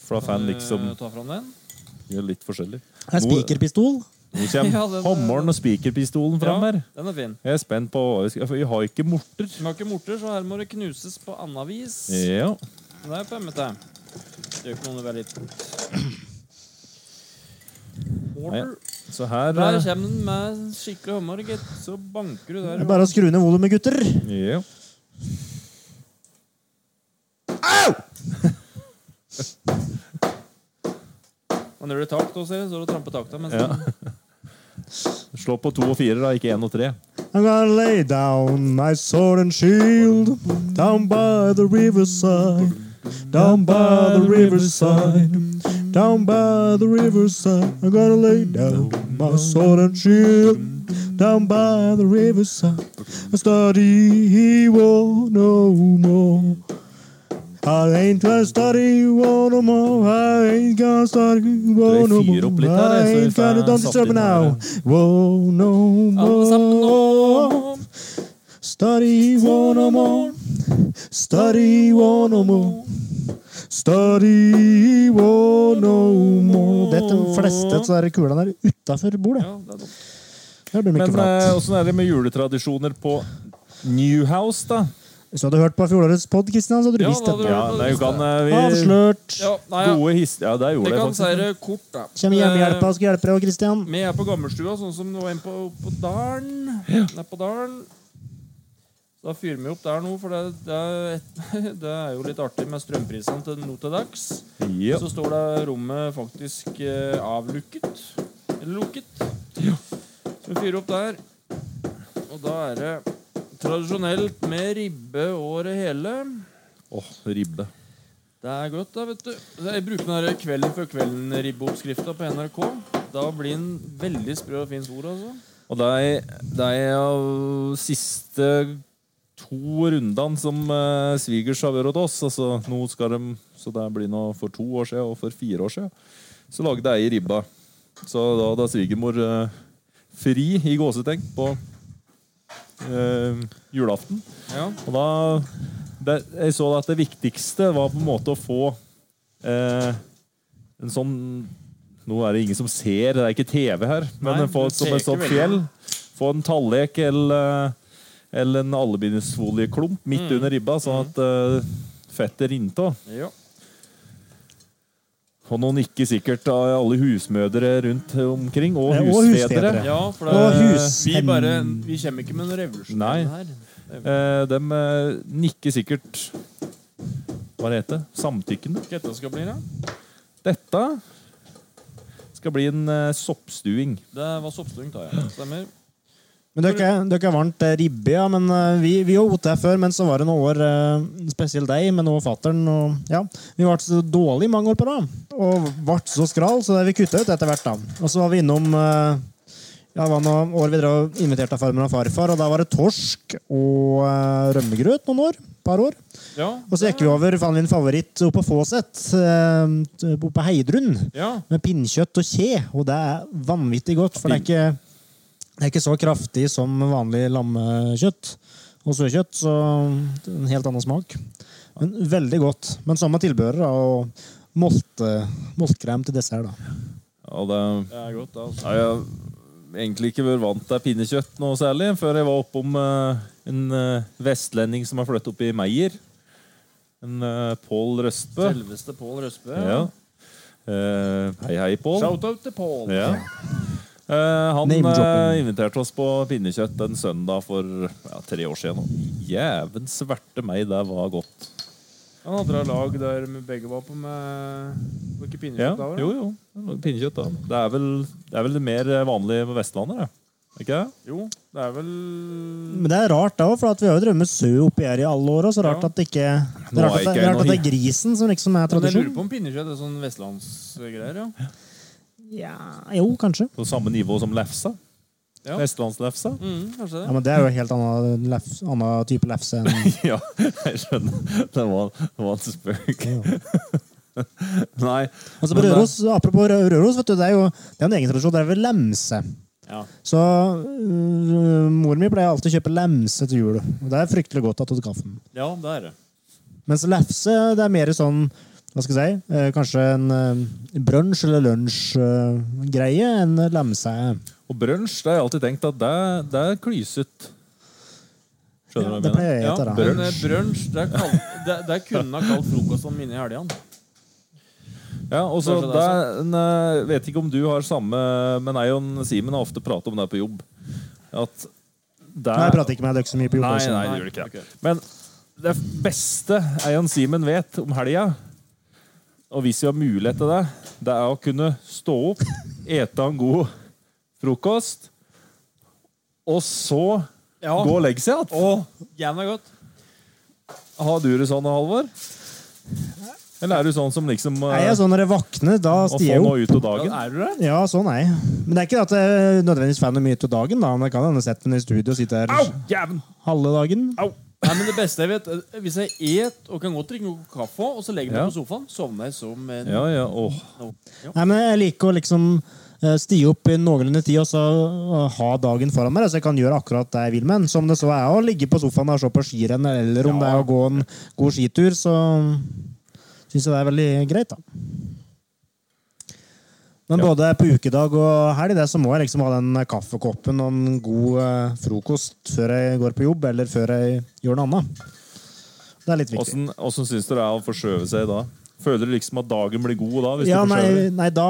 For da får en liksom Eh, Ta fram den. gjøre litt forskjellig. Det er spikerpistol. Nå kommer Ja, den- hammeren og spikerpistolen fram her. Den er fin. Jeg er spent på hva vi skal For vi har ikke morter. Vi har ikke morter, så her må det knuses på annet vis. Ja. Det er femmete. Det gjør ikke noe om det er litt Nei, Mortar. Så her Der eh, kommer den med skikkelig hummer, gitt. Så banker du Det der. er bare å skru ned volumet, gutter. ja. Men det blir takt også, ser jeg. Så du tramper takta. Mens Ja. Slå på to og fire, da, ikke én og tre. I'm gonna lay down my sword and shield down by the riverside. Down by the riverside, down by the riverside. I'm gonna lay down my sword and shield down by the riverside. I study evil no more. I ain't gonna study war no more. I ain't gonna study war no Skal vi fyre opp more. litt her, I så vi ain't får gonna don't disturb satt me inn now. War no Alle sammen more. nå. Study war no more. Study war no more. Study war no more. Det er de fleste av de kulene der utafor bordet. Ja, det er dumt. Det blir Men eh, ikke prat. åssen er det med juletradisjoner på Newhouse, da? Hvis du hadde hørt på fjorårets pod, Kristian, så hadde du Ja, visst da hadde det. Ja, det er jo kan eh, vi Avslørt. Ja, nei, ja. Gode his... Ja, der Det gjorde jeg kan si faktisk det kort, da. eh, Kjem hjemmehjelpa altså. og skal hjelpe deg, og Kristian. Vi er på gammelstua, sånn som det var en på, på Dalen. Nede på Dalen. Da fyrer vi opp der nå, for det, det, er, det er jo litt artig med strømprisene til nå til dags. Ja. Så står det rommet faktisk eh, avlukket. Eller lukket. Så vi fyrer opp der. Og da er det tradisjonelt med ribbe og det hele. Åh, ribbe. Det er godt, da, vet du. Jeg bruker den her Kvelden før kvelden-ribbeoppskrifta på NRK. Da blir den veldig sprø og fin stor, altså. Og det er, det er av siste to rundene som eh, svigers har vært hos oss. Altså, nå skal de, så det blir nå for to år siden og for fire år siden. Så lagde jeg ei ribba. Så da hadde svigermor eh, fri i gåsetenk på eh, julaften. Ja. Og da det, Jeg så at det viktigste var på en måte å få eh, en sånn Nå er det ingen som ser, det er ikke TV her, men Nei, få du et- som et peker sånt veldig. fjell. Få en tallek eller, eh, eller en alubinusfolieklump midt under ribba, sånn at eh, fettet rinte av. Ja. Og nå nikker sikkert av alle husmødre rundt omkring, og Ja, og husfedre. husfedre. ja, for det, Og hus- vi, bare, vi kommer ikke med en revolusjon Nei. her. Eh, de eh, nikker sikkert Hva det heter det? Samtykkende. Hva dette skal bli, da? Dette skal bli en eh, soppstuing. Det var soppstuing, tar jeg. Stemmer. Men det er ikke, det er ikke varmt eh, ribbe, ja, men eh, vi, vi har gjort det før, men så var det noen år, eh, spesielt deg, men også fatteren, og ja, vi ble så dårlig mange år på da, og ble så skral, så det har vi kuttet ut etter hvert da. Og så var vi innom, eh, ja, det var noen år vi drev og inviterte av farmen og farfar, og da var det torsk og eh, rømmegrøt noen år, par år. Ja, Og så gikk vi over, fant vi en favoritt oppe på Fåsett, eh, oppe på Heidrun, ja. med pinnkjøtt og kje, og det er vanvittig godt, for det er ikke, det er ikke så kraftig som vanlig lammekjøtt og søkjøtt, så det er en helt annen smak. Men veldig godt. Men samme tilbehører da, og molte, moltkrem til dessert, da. Ja, det Det er godt, det. Altså. har jeg egentlig ikke vært vant til pinnekjøtt noe særlig, før jeg var oppom eh, en eh, vestlending som har flyttet opp i Meier. En eh, Pål Røstbø. Selveste Pål Røsbø. Ja. Eh, hei, hei, Pål. Shout-out til Pål. Ja. Eh, han Name-dropping. eh, inviterte oss på pinnekjøtt en søndag for ja, tre år siden. nå. Jæven sverte meg, det var godt. Han hadde da lag der vi begge var på med Var ikke Ja, pinnekjøtt da? var det? jo, jo. det var Pinnekjøtt, da. Det er vel det, er vel det mer eh, vanlige på Vestlandet, det. Ikke det? jo, det er vel Men det er rart, da, for at vi har jo drømmet sau oppi her i alle år, og så rart Ja. at det ikke Nå det er er rart at det, ikke det, er rart at det noe- er grisen som liksom er Men jeg lurer tradisjon. på om pinnekjøtt er sånn vestlandsgreier, ja. Ja, jo, kanskje. På samme nivå som lefsa. Ja. Vestlandslefsa. Mm, kanskje Ja, det. Men det er jo en helt annen, lefs, annen type lefse enn Ja, jeg skjønner. Det var, det var en spøk. Nei. Altså på men det- Røros, Apropos Rø- Røros, vet du, det er jo det er en egen tradisjon. Det er vel lemse. Ja. Så øh, mor mi pleier alltid å kjøpe lemse til jul. Og det er fryktelig godt at hun skaffer den. ja, det er det. Mens lefse det er mer sånn hva skal jeg si, eh, kanskje en eh, brunsj- eller lunsjgreie enn lemse. Og brunsj, det har jeg alltid tenkt at det, det er klyset. Skjønner du hva jeg mener? Det pleier jeg å gjette. da. brød. Men eh, brunsj, det, er kald, det, det er kunne ha kalt frokosten min i helgene. Ja, og så Kanskje det det er er en, eh, vet ikke om du har samme Men jeg og Simen har ofte pratet om det på jobb. At det Nei, jeg prater ikke med deg så mye på jobb. Nei, også. nei, det gjør det ikke. Men det beste jeg og Simen vet om helga, og hvis vi har mulighet til det, det er å kunne stå opp, ete en god frokost, og så Ja. gå og legge seg igjen. Jævla godt. Har du det sånn, Halvor? Eller er du sånn som liksom eh, Nei, jeg er sånn når jeg våkner, da Å få stiger jeg opp. noe ut av Ja, dagen? er du det? Ja, sånn er jeg. Men det er ikke at jeg nødvendigvis får noe mye ut av dagen, da. Men jeg kan hende sette den i studio og sitte her Jævlen! halve dagen. Nei, men det beste jeg vet eh, Hvis jeg et og kan godt drikke noe kaffe, og så legger jeg meg Ja. på sofaen, sovner jeg som en Ja, ja. Åh. Nei, men jeg liker å liksom eh, stige opp i noenlunde tid og så eh, ha dagen foran meg, da, så jeg kan gjøre akkurat det jeg vil med den. Som det så er å ligge på sofaen og se på skirenn, eller om det er å gå en god skitur, så syns jeg det er veldig greit, da. Men både på ukedag og helg det, så må jeg liksom ha den kaffekoppen og en god eh, frokost før jeg går på jobb, eller før jeg gjør noe annet. Det er litt viktig. Åssen åssen syns du det er å forskjøve seg da? Føler du liksom at dagen blir god da? Hvis Ja, du forskjøver? nei, nei da,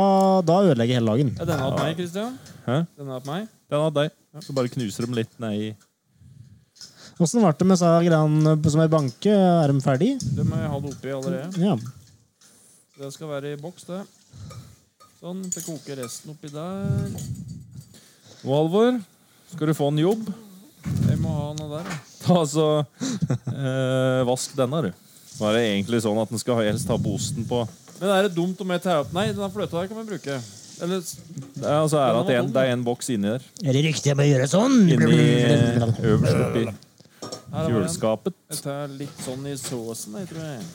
da ødelegger jeg hele dagen. Er denne hatt meg, Christian? Hæ? Denne hatt meg? Den hadde deg. Så bare knuser dem litt ned i Åssen ble det med disse greiene som er banke? Er de ferdig? Det må jeg ha det oppi allerede. Ja. Det skal være i boks, det. Sånn. Så koker resten oppi der. Og Halvor, skal du få en jobb, Jeg må ha noe der. ja. ta så eh, vask denne, du. Nå er det egentlig sånn at den skal helst ha på osten på. Men er det dumt om jeg tar opp Nei, den fløta der kan vi bruke. Eller s- Det er, altså, er at en, det er en boks inni der. Er det riktig jeg må gjøre sånn? Inni eh, øverst oppi her er den. kjøleskapet. Jeg tar litt sånn i såsen, jeg tror jeg.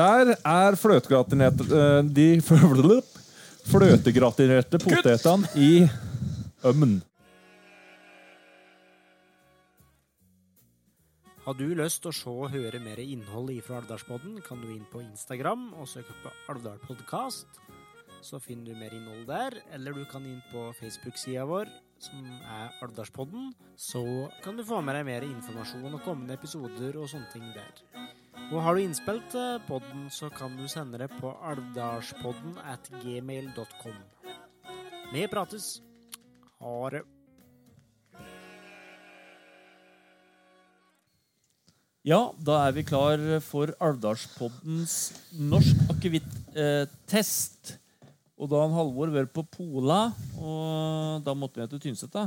Der er fløtegratinerte eh, De fløtegratinerte potetene i ømmen. Har du lyst til å se og høre mer innhold ifra Alvdalspodden, kan du inn på Instagram og søke på Alvdal Podcast. Så finner du mer innhold der. Eller du kan inn på Facebook-sida vår, som er Alvdalspodden. Så kan du få med deg mer informasjon og kommende episoder og sånne ting der. Og har du innspill til podden, så kan du sende det på alvdalspodden at gmail.com. Vi prates. Ha det. Ja, da er vi klar for Alvdalspoddens norsk akevitt-test. Og da han Halvor var på Pola, og da måtte vi til Tynset da,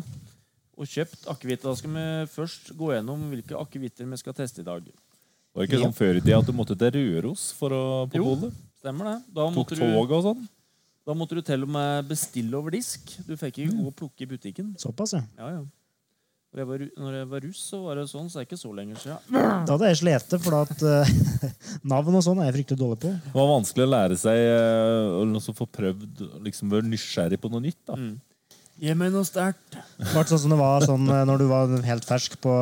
og kjøpt akevitt. Da skal vi først gå gjennom hvilke akevitter vi skal teste i dag. Var det ikke sånn før i tida at du måtte til Røros for å på Jo. bolet? Stemmer det? Da Tok måtte, du, tog og sånn? da måtte du til og med bestille over disk. Du fikk ikke gå og plukke i butikken. Såpass, ja. Ja, ja. Når jeg var, ru- når jeg var russ, så var det sånn, så det er ikke så lenge siden. Da hadde jeg slete, for at eh, navn og sånn er jeg fryktelig dårlig på. Det var vanskelig å lære seg eh, å liksom få prøvd liksom være nysgjerrig på noe nytt. da. Mm. Gi meg noe sterkt. Det ble sånn som det var sånn eh, når du var helt fersk på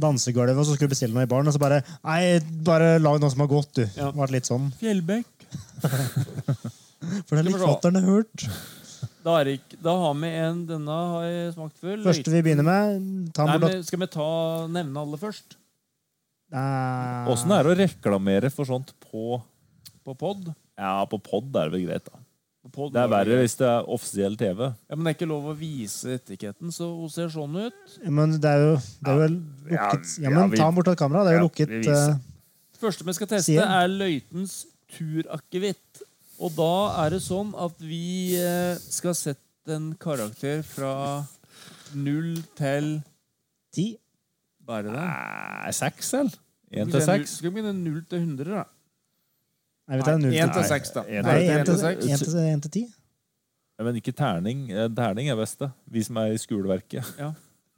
dansegulvet, og så skulle du bestille noe i baren, og så bare Nei, bare lag noe som har gått, du. Ja. Det ble litt sånn. Fjellbekk. For det er litt fatter'n har hørt. Da, er det ikke, da har vi en, denne har jeg smakt før. Første vi begynner med ta Nei, en blå- men Skal vi ta, nevne alle først? Nei. Åssen er det å reklamere for sånt på På pod? Ja, på pod er det vel greit, da. På pod Det er verre hvis det er offisiell TV. Ja, men det er ikke lov å vise etiketten, så hun ser sånn ut. Men det er jo, det er jo lukket Ja, men ta den bort av kameraet. Det er jo lukket eh, Første vi skal teste, Sier. er Løitens turakevitt. Og da er det sånn at vi eh, skal sette en karakter fra null til ti. Bare det? Nei, seks, eller? Skal Én vi til se, seks. Skal vi begynne null til 100, da? Nei, vi tar en null Én til til seks, da. en Nei, til- en en til- til seks. en til- en til ti. Nei, Men ikke terning. Eh, Terning er best, det. Vi som er i skoleverket.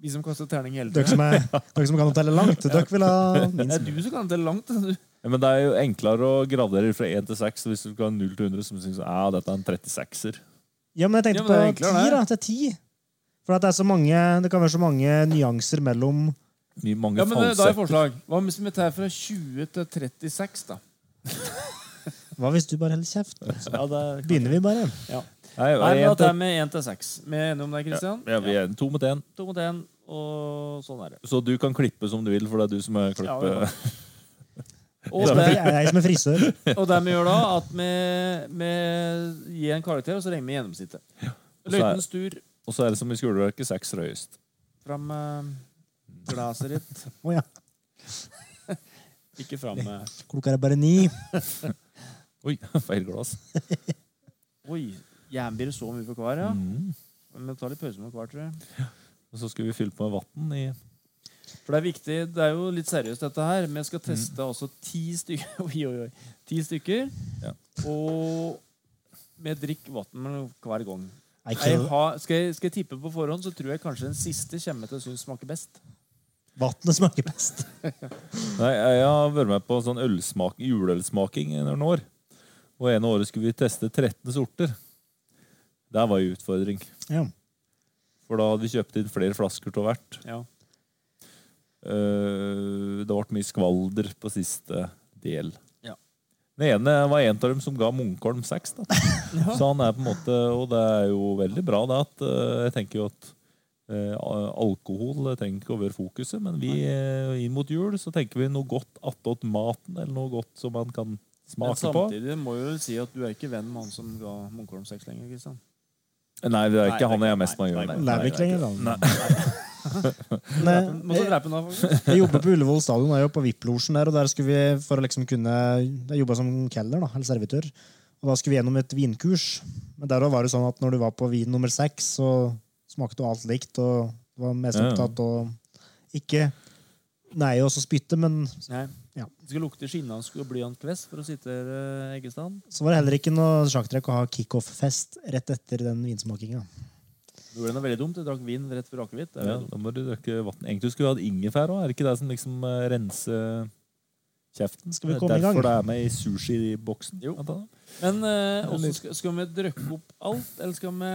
Vi som kaster terning hele Dere tida. som, er, dere som kan å telle langt, dere vil ha Det minst. er du som kan telle langt. Du. Ja, Men det er jo enklere å gradere fra 1 til 6 hvis du skal ha 0 til 100 som syns ja, dette er en 36-er. Ja, men jeg Ja, men tenkte det er på enklere, ti, det. da. Til ti. For at det, er så mange, det kan være så mange nyanser mellom Mye mange Ja, men eh, Da har jeg falsetter. forslag. Hva hvis vi tar fra 20 til 36, da? Hva hvis du bare holder kjeft? Ja, det er Begynner vi bare? Nei, Nei, men da en til- tar vi 1 til 6. Vi er enige om det, Kristian? ja, vi er to mot én, To mot én, og sånn er det. så du kan klippe som du vil, for det er du som er Ja, klippe. det er Og Jeg, det, jeg, jeg som er frisør. og det vi gjør da, at vi, vi gir en karakter, og så regner vi gjennomsnittet. så er- Løytens tur. Og så er det som i skoleverket, seks røyest. Fram med glasset ditt. Å ja. Ikke fram med Klokka er bare ni. Oi, feil glass. Oi, jernbier så mye for hver, ja. Mm. Men vi tar litt pause med hver, tror jeg. Og så skal vi fylle på med vann i For det er viktig, det er jo litt seriøst dette her, men jeg skal teste Mm. altså ti stykker. Oi, oi, oi. Ti stykker. Ja. Og med drikk vann hver gang. Nei, Jeg ikke- har, skal, jeg, skal jeg tippe på forhånd, så tror jeg kanskje den siste kommer jeg til å synes smaker best. Vannet smaker best. Nei, jeg har vært med på sånn ølsmak, juleølsmaking i noen år. Og ene året skulle vi teste 13 sorter. Der var jo utfordring. Ja. For da hadde vi kjøpt inn flere flasker til hvert. Ja. Eh, det ble mye skvalder på siste del. Ja. Den ene var en av dem som ga Munkholm seks. da. Så han er på en måte Og det er jo veldig bra, det. at eh, Jeg tenker jo at eh, alkohol trenger ikke å være fokuset, men vi eh, inn mot jul så tenker vi noe godt attåt maten, eller noe godt som man kan Men smake på. samtidig må jeg jo si at du er ikke venn med han som ga Munkholm sex lenger, Kristian. Nei, det er Nei, ikke han jeg er nei, mest med å nei, gjøre. nei, nei, Lever ikke nei, lenger, da. Må så Nei, jeg, drepe han da, faktisk. jeg jobber på Ullevål stadion, jeg jobber på VIP-losjen der, og der skulle vi for å liksom kunne Jeg jobba som kelner, da, eller servitør. Og da skulle vi gjennom et vinkurs. Men der også var det sånn at når du var på vin nummer seks, så smakte jo alt likt, og du var mest Ja, ja. opptatt av ikke Nei, og så spytte, men Nei. Ja. Det skulle lukte skinnene og blyant kvess for å sitte her, eh, Eggestan. så var det heller ikke noe sjakktrekk å ha kickoff-fest rett etter den vinsmakinga. Det gjorde noe veldig dumt. Jeg drakk vin rett før akevitt. Det er Ja, veldig dumt. da må du drikke vann. Egentlig skulle vi hatt ingefær òg. Er det ikke det som liksom eh, renser kjeften? Skal vi Det er komme i gang? Derfor det er med i sushiboksen. Jo. blant annet. Men eh, hvordan skal, skal vi drøkke opp alt, eller skal vi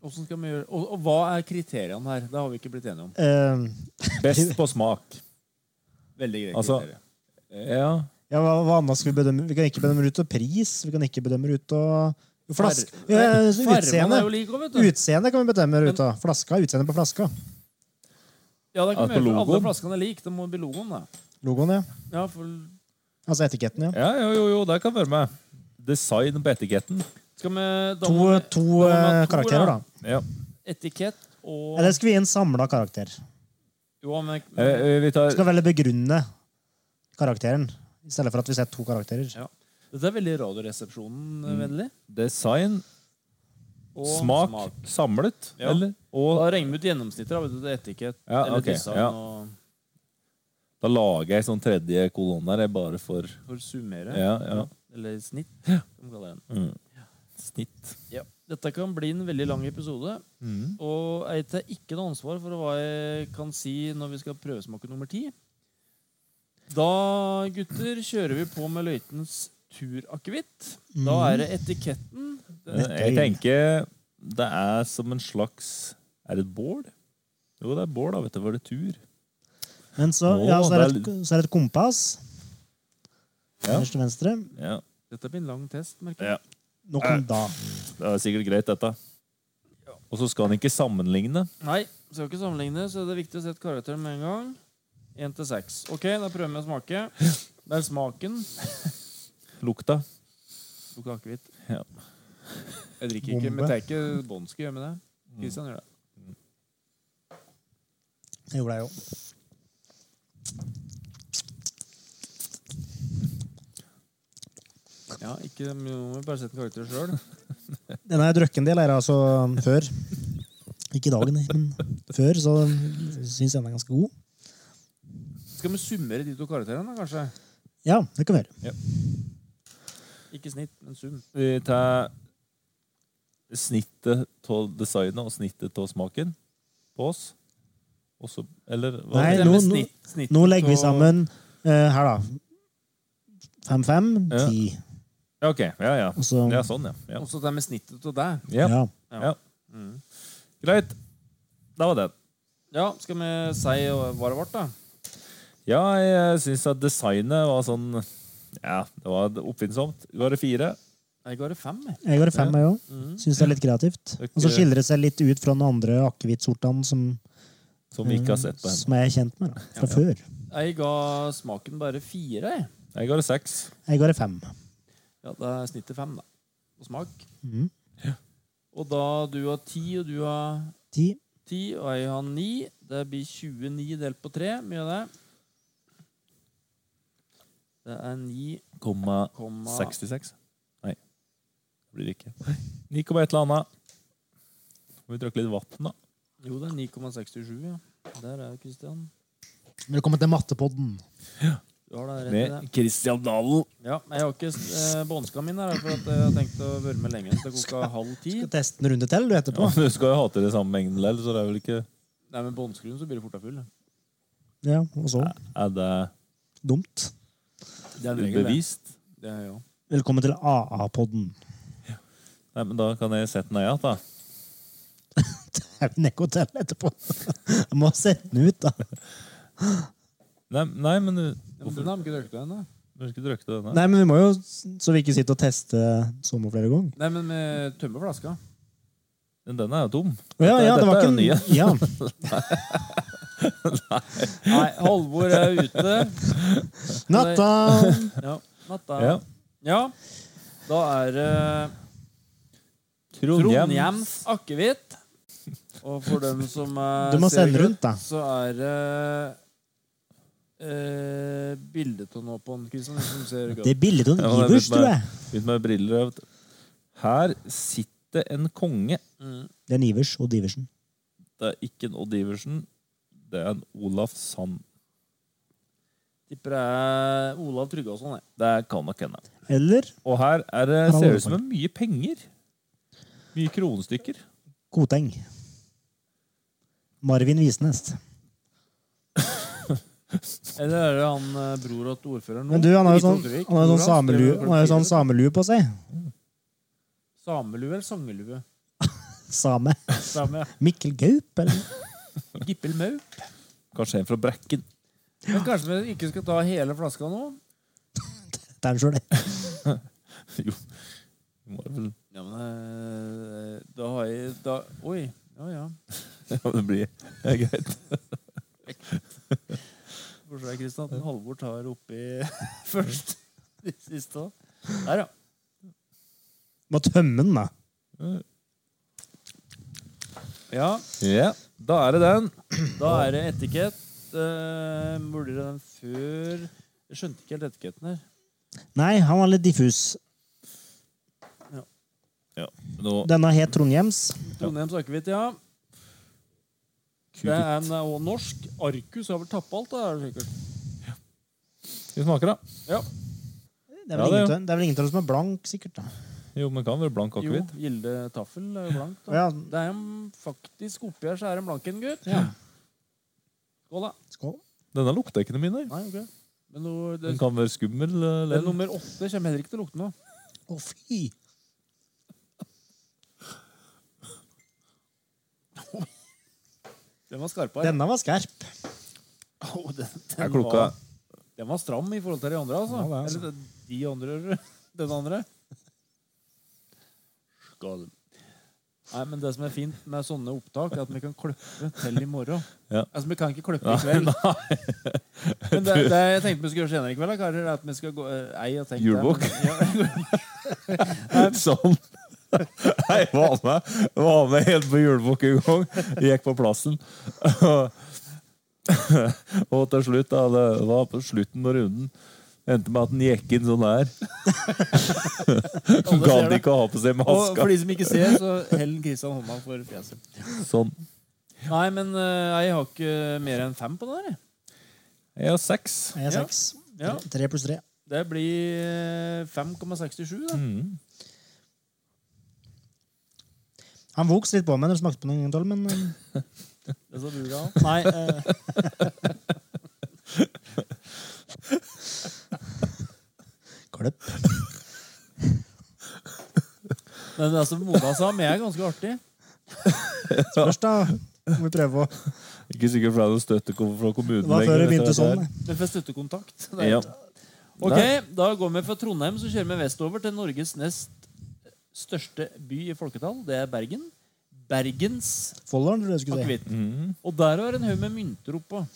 hvordan skal vi gjøre? Og, og hva er kriteriene her? Det har vi ikke blitt enige om. Eh, Best på smak. Veldig greie Altså- kriterier. Ja. Ja, hva, hva annet skal vi bedømme? Vi kan ikke bedømme ut av pris. Vi kan ikke bedømme ut av flaske. Ja, så Farmene utseende. er jo like òg, vet du. Utseende kan vi bedømme ut av. Flaska, utseende på flaska. Ja, det kan vi Ja, på gjøre. for Alle logoen. flaskene er like. Det må bli logoen, da. Logoen, ja. Ja, for Altså etiketten, ja. ja, jo, jo, jo, det kan være med. Design på etiketten. skal vi da To, må vi- to da må vi ha eh, to, karakterer, da. Ja. Etikett og Eller skal vi gi en samla karakter? Jo, men Eh, eh, Vi tar Skal vel begrunne karakteren, i stedet for at vi ser to karakterer. Dette er veldig Radioresepsjonen-vennlig. design, eh, og Mm. Smak, samlet, Ja. eller? Og Og da regner vi ut gjennomsnitter. Da, vet du, det er etikett Ja, eller ok, design ja. og da lager jeg sånn tredje kolonne her, jeg bare for for å summere. Ja, ja. Eller snitt, som de kaller den. Mm. Snitt. Mm. Dette kan bli en veldig lang episode. Og jeg tar ikke noe ansvar for hva jeg kan si når vi skal prøvesmake nummer ti. Da, gutter, kjører vi på med løytens turakevitt. Da Mm. er det etiketten. Jeg tenker det er som en slags Er det et bål? Jo, det er bål, da. Vet du, var det tur? Men så, Å, ja, så, er det det et, så er det et kompass. Ja. Først til venstre. Ja. Dette blir en lang test, merker jeg. ja. Nå kom da. Det er sikkert greit, dette. Og så skal han ikke sammenligne. Nei, skal ikke sammenligne, så det er viktig å sette karakteren med en gang. Én til seks. Ok, da prøver vi å smake. Det er smaken. Lukta. Lukter akevitt. Ja. Jeg drikker ikke, Bombe. men det er ikke Bånd skal gjøre med det. Kristian gjør det. Jeg gjorde det jo. Ja, ikke, vi må bare sette en karakter sjøl. Den har jeg drukket en del her, altså, før. Ikke i dag, nei, men før, så syns jeg den er ganske god. Skal vi summere de to karakterene, da, kanskje? Ja, det kan vi gjøre. Ikke snitt, men sum. Vi tar snittet av designet og snittet av smaken på oss. Og så Eller hva? Nei, Det er nå- med nå- snitt, snitt Nå legger vi og- sammen eh, her, da. Fem-fem, Ja. ti. Ja, OK. Ja, ja. Og så Ja, sånn, ja. Og så det med snittet og deg. ja. ja. Ja. Greit. Da var den. Ja, skal vi si eh, hva det ble, da? Ja, jeg syns at designet var sånn Ja, det var oppfinnsomt. Var det fire? Jeg ga det fem. jeg. Jeg går i fem, jeg òg. Mhm. Syns det er litt kreativt. Det er Og så ikke- skiller det seg litt ut fra den andre akevittsortene som, eh, Som vi ikke har sett på henne. som jeg er kjent med da, fra før. Jeg ga smaken bare fire. jeg. Jeg ga det seks. Jeg går i fem. Ja, da er snittet fem, da. På smak. Mhm. Og da du har ti, og du har Ti. ti, og jeg har ni. Det blir 29 delt på tre. Mye av det. Det er 9,66. Komma 66. Nei, det blir det ikke. 9,1 eller annet. Må vi drikke litt vann, da. Jo, det er 9,67, ja. Der er Kristian. Velkommen til mattepodden. Du har da rett i det. Med Christian Dalen. Ja, men jeg har ikke eh, båndska min her, for at eh, jeg har tenkt å være med lenge. Så det koker halv ti. Skal teste en runde til du etterpå. Ja, du skal jo ha til det samme mengden likevel, så det er vel ikke Nei, men båndskruen så blir du forta full. Ja, og så. Er det Dumt. Det er bevist? Det er jo. Velkommen til AA-podden. Nei, men da kan jeg sette den ned igjen, da. er vi nede hotell etterpå. Jeg må sette den ut, da. Nei, nei men du Ja, men den har vi ikke drukket ennå. Du skal ikke drøkke denne? Nei, men vi må jo, så vi ikke sitter og tester sommer flere ganger. Nei, men vi tømmer flaska. Men Denne er jo tom. Å Ja, ja, det var ikke en Dette Ja, Nei, Halvor er ute. natta! Ja, natta. Ja. Ja. Da er eh, det Trondheim. Trondhjems akevitt. Og for dem som er Du må sende rundt, da. Så er det eh, bildet av noe på den, Kristian, som ser godt Det er bildet av Ja, en men Ivers, vet tror meg. jeg. Ut med briller. vet du. Her sitter en konge. Mm. Det er en Ivers og Diversen. Det er ikke en Odd Iversen. Det er en Olaf Sand. Tipper det er Olav Tryggvason. jeg. Det kan nok hende. Eller Og her er det, Her er ser det ut som det Olaf er mye penger. Mye kronestykker. Koteng. Marvin Visnes. Eller er det han eh, bror til ordføreren nå? Men du, han har jo sånn, Rikard Torvik. han har jo Bror sånn, hans samelue, drev med han har jo sånn klokkespill. samelue på seg. Samelue eller sangelue? Same. Same. Mikkel Gaup, eller? Gippel mau. Kanskje en fra Brekken. Men kanskje vi ikke skal ta hele flaska nå? Det er han sjøl, det. Jo. Det må vel- Ja, men eh, da har jeg da, Oi. Ja, ja. Ja, det blir det er greit. Hvor er Kristian? Halvor tar oppi først. De siste òg. Der, ja. Må tømme den, da. ja. Ja, Da er det den. Da er det etikett. Uh, Mulig den før Jeg skjønte ikke helt etiketten her. Nei, han var litt diffus. Nå, Denne het Trondheims. Trondheim Sarkevit, ja. Det kuk, er en eh, og norsk. Arkus har vel tappa alt, da, er det sikkert. vi smaker, da. Ja. Det er Ja, det vel er ingen av- det er vel ingen av dem som er blank, sikkert. da. Jo, men kan være blank Jo, akevitt. Gilde Taffel er jo blank. Da. Ja, Det er en- faktisk oppi her så er det en blank en, gutt. Ja. Skål, da. skål. Denne lukter ikke noe mine. Nei, ok. Men noe, det, Den kan være skummel. eh, den Len. nummer åtte kommer heller ikke til å lukte noe. Å, fy! Den var skarpere. Denne var skerp. Å, den, den Er klokka Var, den var stram i forhold til de andre, altså. Ja, det er Eller de, de andre Den andre. Skål. Nei, men Det som er fint med sånne opptak, er at vi kan kløppe til i morgen. Ja. Altså, Vi kan ikke kløppe i kveld. Men det, det jeg tenkte vi skulle gjøre senere i kveld, da, karer, er at vi skal gå eh, Nei, jeg tenkte Julebukk? Ja, Sånn. Nei, Jeg var med, var med helt på julebukk en gang. Jeg gikk på plassen. Og til slutt, da, det var på slutten av runden, endte med at han gikk inn sånn her. alle ser Gadd det. ikke å ha på seg Og maska. for de som ikke ser, så hell Kristian hånda for fjeset. Sånn. Nei, men eh, jeg har ikke mer enn fem på det der. jeg. Jeg har seks. Jeg er Ja. seks. Ja. Tre pluss tre. Det blir eh, 5,67, da. Mm. Han voks litt på meg når han smakte på den, en gang til, men eh, Det sa du da. Nei. eh, Kløpp. Men det er som Mona sa, men jeg er ganske artig. Spørs, da. Må vi prøve å Det Ikke sikkert fordi det er støtte kom fra kommunen var før det dette begynte her. sånn. det. Men for støttekontakt. det er- Ja. Ok, Da går vi fra Trondheim så kjører vi vestover til Norges nest største by i folketall. Det er Bergen. Bergens Folleren, tror jeg du skulle si. akevitt. Mm. Og der har en haug med mynter oppå.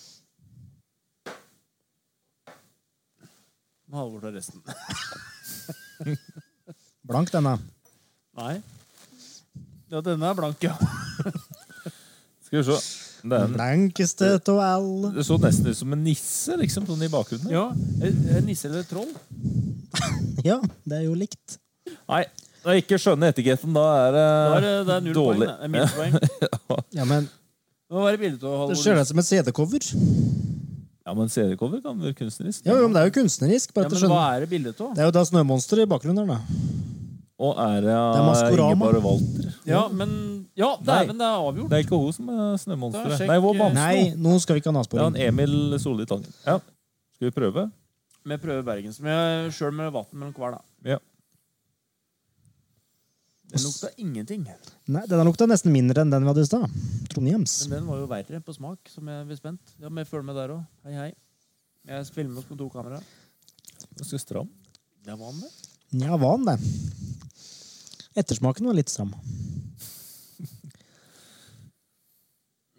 Nå har Halvor tar resten. Blank, denne. Nei. Ja, denne er blank, ja. Skal vi se. Det, er en, Blankeste av alle. det så nesten ut som en nisse liksom, sånn i bakgrunnen. ja er- er Nisse eller troll? Ja, det er jo likt. Nei, når jeg ikke skjønner etiketten, da er det, Da er det, det er null dårlig. poeng. Det er minuspoeng. Ja, men Nå er det bildet av Det Halvor. ser ut som et CD-cover. Ja, men CD-cover kan være kunstnerisk. Ja, jo, men det er jo kunstnerisk. På Ja, dette men skjønner. hva er det bildet av? Det er jo da snømonsteret i bakgrunnen her, da. Og ære Det er av Maskorama. Ingeborg og Walter. Ja, men Ja, dæven, det er avgjort. Det er ikke hun som er Da, snømonsteret. sjekk, Nei, hun var eh, Bamsen. Nei, nå skal vi ikke ha Det er han nasporing. Emil Solli Tangen. Ja. Skal vi prøve? Vi prøver Bergens. Men sjøl med vann mellom hver, da. Ja. Den lukta ingenting. Nei, Denne lukta nesten mindre enn den vi hadde i stad. Trondheims. Men den var jo verre på smak, som jeg blir spent. Ja, men følg med der òg. Hei, hei. Jeg filmer oss med to kameraer. Ganske stram. Det var han, det. Ja, hva han det? Ettersmaken var litt stram.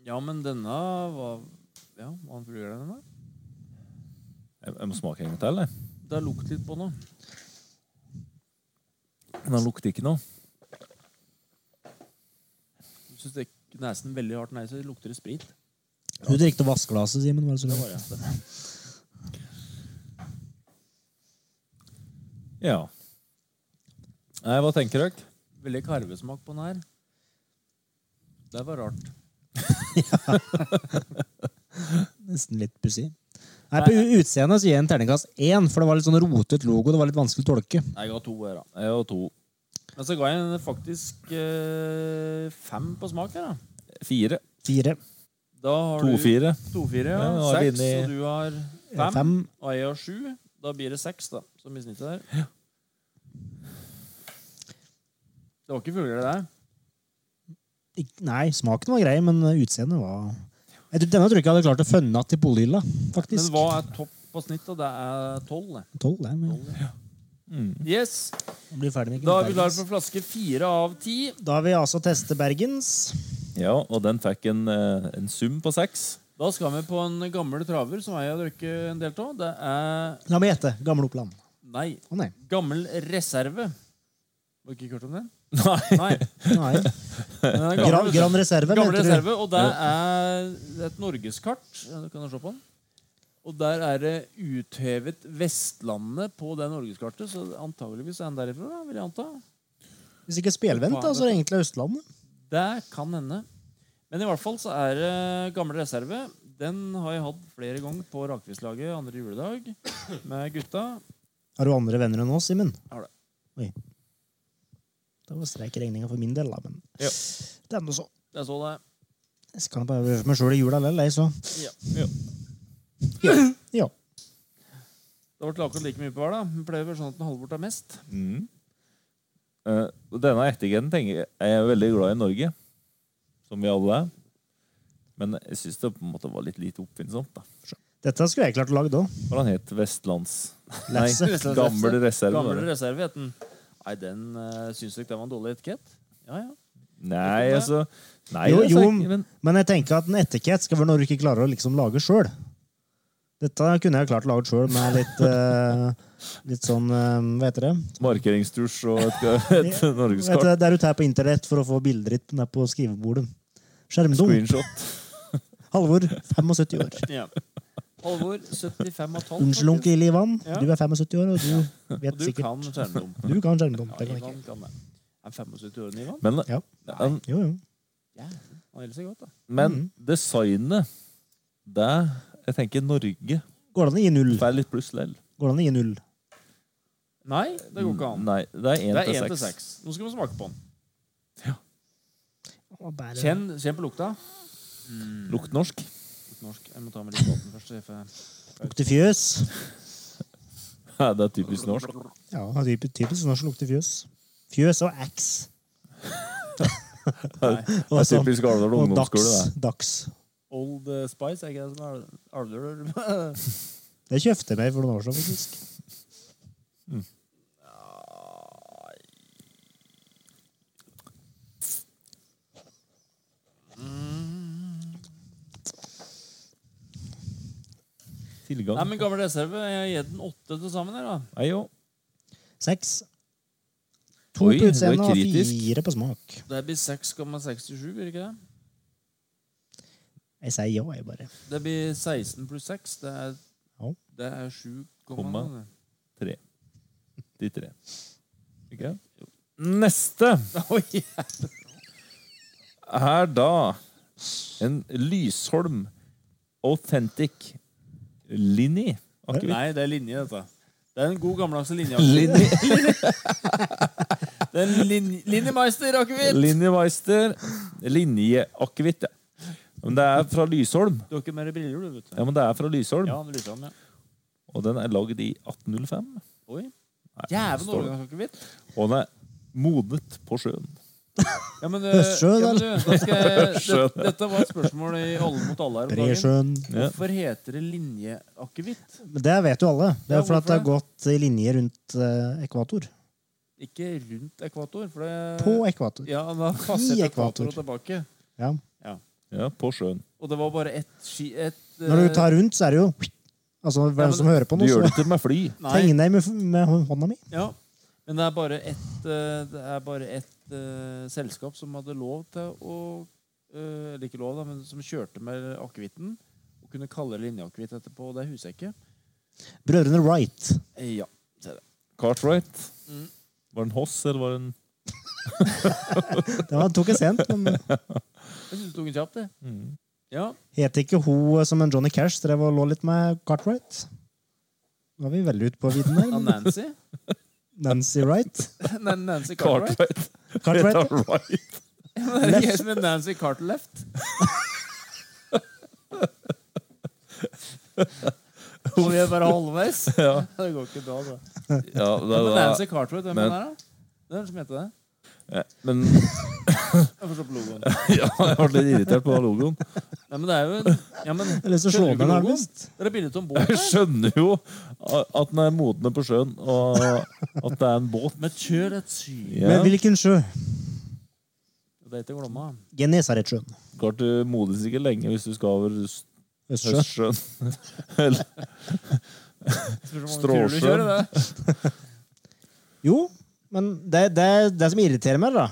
Ja, men denne var Ja, var han fullere enn denne? Jeg, jeg må smake en gang til. jeg. Det har lukt litt på noe. Men Den lukter ikke noe. Du syns det er nesen veldig hardt nei, så lukter det sprit. Du drikket vaskeglasset, Simen. Var det så Det lurt? var det. Ja. Nei, hva tenker dere? Veldig karvesmak på den her. Det var rart. Nesten litt pussig. Nei, På u- utseendet så gir jeg en terningkast én, for det var litt sånn rotet logo. Det var litt vanskelig å tolke. Nei, Jeg ga to her, da. Jeg og to. Men så ga jeg en faktisk eh, fem på smak her, da. Fire. Fire. Da har du To-fire. to-fire, ja. Ja, nå er vi seks, inne i- og du har Fem. fem. Og jeg har sju. Da blir det seks, da, som i snittet der. Det var ikke fugler, det der. Ik- Nei, smaken var grei, men utseendet var jeg tror, Denne tror jeg ikke jeg hadde klart å fønne igjen i polhylla, Men faktisk. hva er topp på snitt, da? Det er tolv, det. Tolv, det. Men... Yes. jeg Blir ferdig med Da er vi klare Bergens. for flaske fire av ti. Da vil jeg altså teste Bergens. Ja, og den fikk en, eh, en sum på seks. Da skal vi på en gammel traver som jeg har drukket en del av. Det er La meg gjette. Gamle Oppland. Nei. Å nei. Gammel reserve. Har du ikke hørt om den? Nei. Nei. nei. Den er gammel, Gran, vet du. Gran Reserve, Gamle mente du? reserve, og der er et norgeskart. Ja, Du kan jo se på den. Og der er det uthevet Vestlandet på det norgeskartet, så antageligvis er den derifra, da, vil jeg anta. Hvis ikke spelvendt, da, så er det egentlig Østlandet. Det kan hende. Men i hvert fall så er det gamle reserve. Den har jeg hatt flere ganger på Rakfislaget andre juledag med gutta. Har du andre venner enn oss, Simen? Har det. Oi. Det var streik i regninga for min del, da, men Ja. det er nå så. Jeg så det. Jeg skal bare være meg sjøl i jula lell, jeg, så. Ja. Ja. Det ble akkurat like mye på hver, da. Men pleier å være sånn at den holder bort av mest. Mm. Eh, denne ertegenen tenker jeg er jeg veldig glad i Norge, som vi alle er. Men jeg syns det på en måte var litt lite oppfinnsomt. da. Dette skulle jeg klart å lage da. Hva var han het Vestlands... Nei, Lasse. Gammel Reserve. var Gamle det. reserve het den. Nei, den uh, syns dere det var en dårlig etikett? Ja, ja. Nei, altså Nei, Jo, det er jo. sant, men Men jeg tenker at en etikett skal være når du ikke klarer å liksom lage sjøl. Dette kunne jeg klart laget sjøl med litt eh, Litt sånn eh, Hva heter det? markeringstusj og et, et Vet du, norgeskart. der du tar på internett for å få bilder ditt ned på skrivebordet. Skjermdunk. Screenshot. Halvor, 75 år. ja. Halvor, 75 og 12. Unnskyld, faktisk. onkel Ivan. Ja. Du er 75 år, og du Og vet Du sikkert kan skjermdump. Du kan skjermdunk. Ja, Det kan jeg ikke. Ivan kan det. Er 75 år Ivan? Men, Ja. men, Jo, jo. Ja, han gjelder seg godt, da. men Mm. designet Det Jeg tenker Norge Går det an å gi null? får litt pluss lell. Går det an å gi null? Nei, det går ikke an. Nei, det er én Det er én til til seks. seks. Nå skal vi smake på den. Å, bare- Kjenn, kjenn på lukta. Lukt norsk. Litt norsk. Jeg må ta med litt vann først. så jeg får- Lukter fjøs? Ja, det er typisk norsk. Ja, typisk, typisk norsk lukter fjøs. Fjøs og ax. Det er typisk Alvdal Og ungdomsskole. dags. Det. dags. Old eh, Spice, er ikke det som er Alvdøl? Det kjøpte jeg meg for noen år siden, faktisk. Nei, Tilgang. men Gammel reserve. Jeg gir den åtte til sammen. her da. Nei, jo. Seks. To Oi, på det er utseende og kritisk. fire på smak. Det blir 6,67, blir det ikke det? Jeg sier ja, jeg bare. Det blir 16 pluss 6. Det er, Ja. det er 7, Komma. komma. De tre. Ikke? Neste Oi, ja. er da en Lysholm Authentic Linni. Akevitt. Nei, det er linje, dette. Det er en god, gammeldagse linje. Linni. Det er en lin- Linjemeister akevitt! Linjemeister. Linjeakevitt, ja. Men det er fra Lysholm. Du har ikke mer briller, du, vet du. Ja, men det er fra Lysholm. Ja, det lyser om, ja. Og den er lagd i 1805. Oi. Nei, Jævlig står det. årgangsakevitt. Og den er modnet på sjøen. Ja, men, eh, Høstsjø, ja, men da. du, da skal jeg, Høstsjø. det, dette var et spørsmål i Alle mot alle her om dagen. Bresjøen. Ja. Hvorfor heter det linjeakevitt? Men Det vet jo alle. Det Ja, er fordi at det har hvorfor gått i linje rundt eh, ekvator. Ikke rundt ekvator, for det På Eh, ekvator. Ja, han har passert I ekvator ekvator. og tilbake. Ja. Ja, på sjøen. Og det var bare ett ski... Et, Når eh, du tar rundt, så er det jo Altså, hvem men- som hører på Du nå, gjør så det ikke med fly. eh, Nei, tegner jeg med, med hånda mi. ja. Men det er bare ett eh, Det er bare ett eh, selskap som hadde lov til å eh, Eller ikke lov, da, men som kjørte med akevitten. Og kunne kalle det linjeakevitt etterpå, og det husker jeg ikke. Brødrene Wright. Eh, Ja. Cartwright. Mm. Var det en Hoss, eller var det en Det var, tok jeg sent, men Jeg syns du tok en kjapp, det. Mm. Ja. het ikke hun eh, som en Johnny Cash drev og lå litt med Cartwright? Nå er vi veldig ute på vidden her. Og men Nancy. Nancy Wright. Nei, Nancy Cartwright. Cartwright? Cartwright ja. Cartwright. Det er ikke helt med Nancy Cartleft. Og vi er bare halvveis. Ja. Det går ikke bra, da. Ja, det, Men Nancy det, Cartwright, hvem er Men- det? da? Det er den som heter det. ja, men Jeg får se på logoen. ja, jeg ble litt irritert på logoen. Nei, men det er jo en... Ja, men, Jeg har lyst til å slå skjønner du meg ikke nærmest. logoen? Det er bildet av en båt Jeg der. skjønner jo at den er modne på sjøen, og at det er en båt. Med kjør et sy. Ja. Men hvilken sjø? Det heter Glomma. Genesaretsjøen. Klart du modes ikke lenge hvis du skal over s- Østsjø. Østsjøen. Eller Stråsjøen. Stråsjøen. Jo, men det, det, det som irriterer meg, da,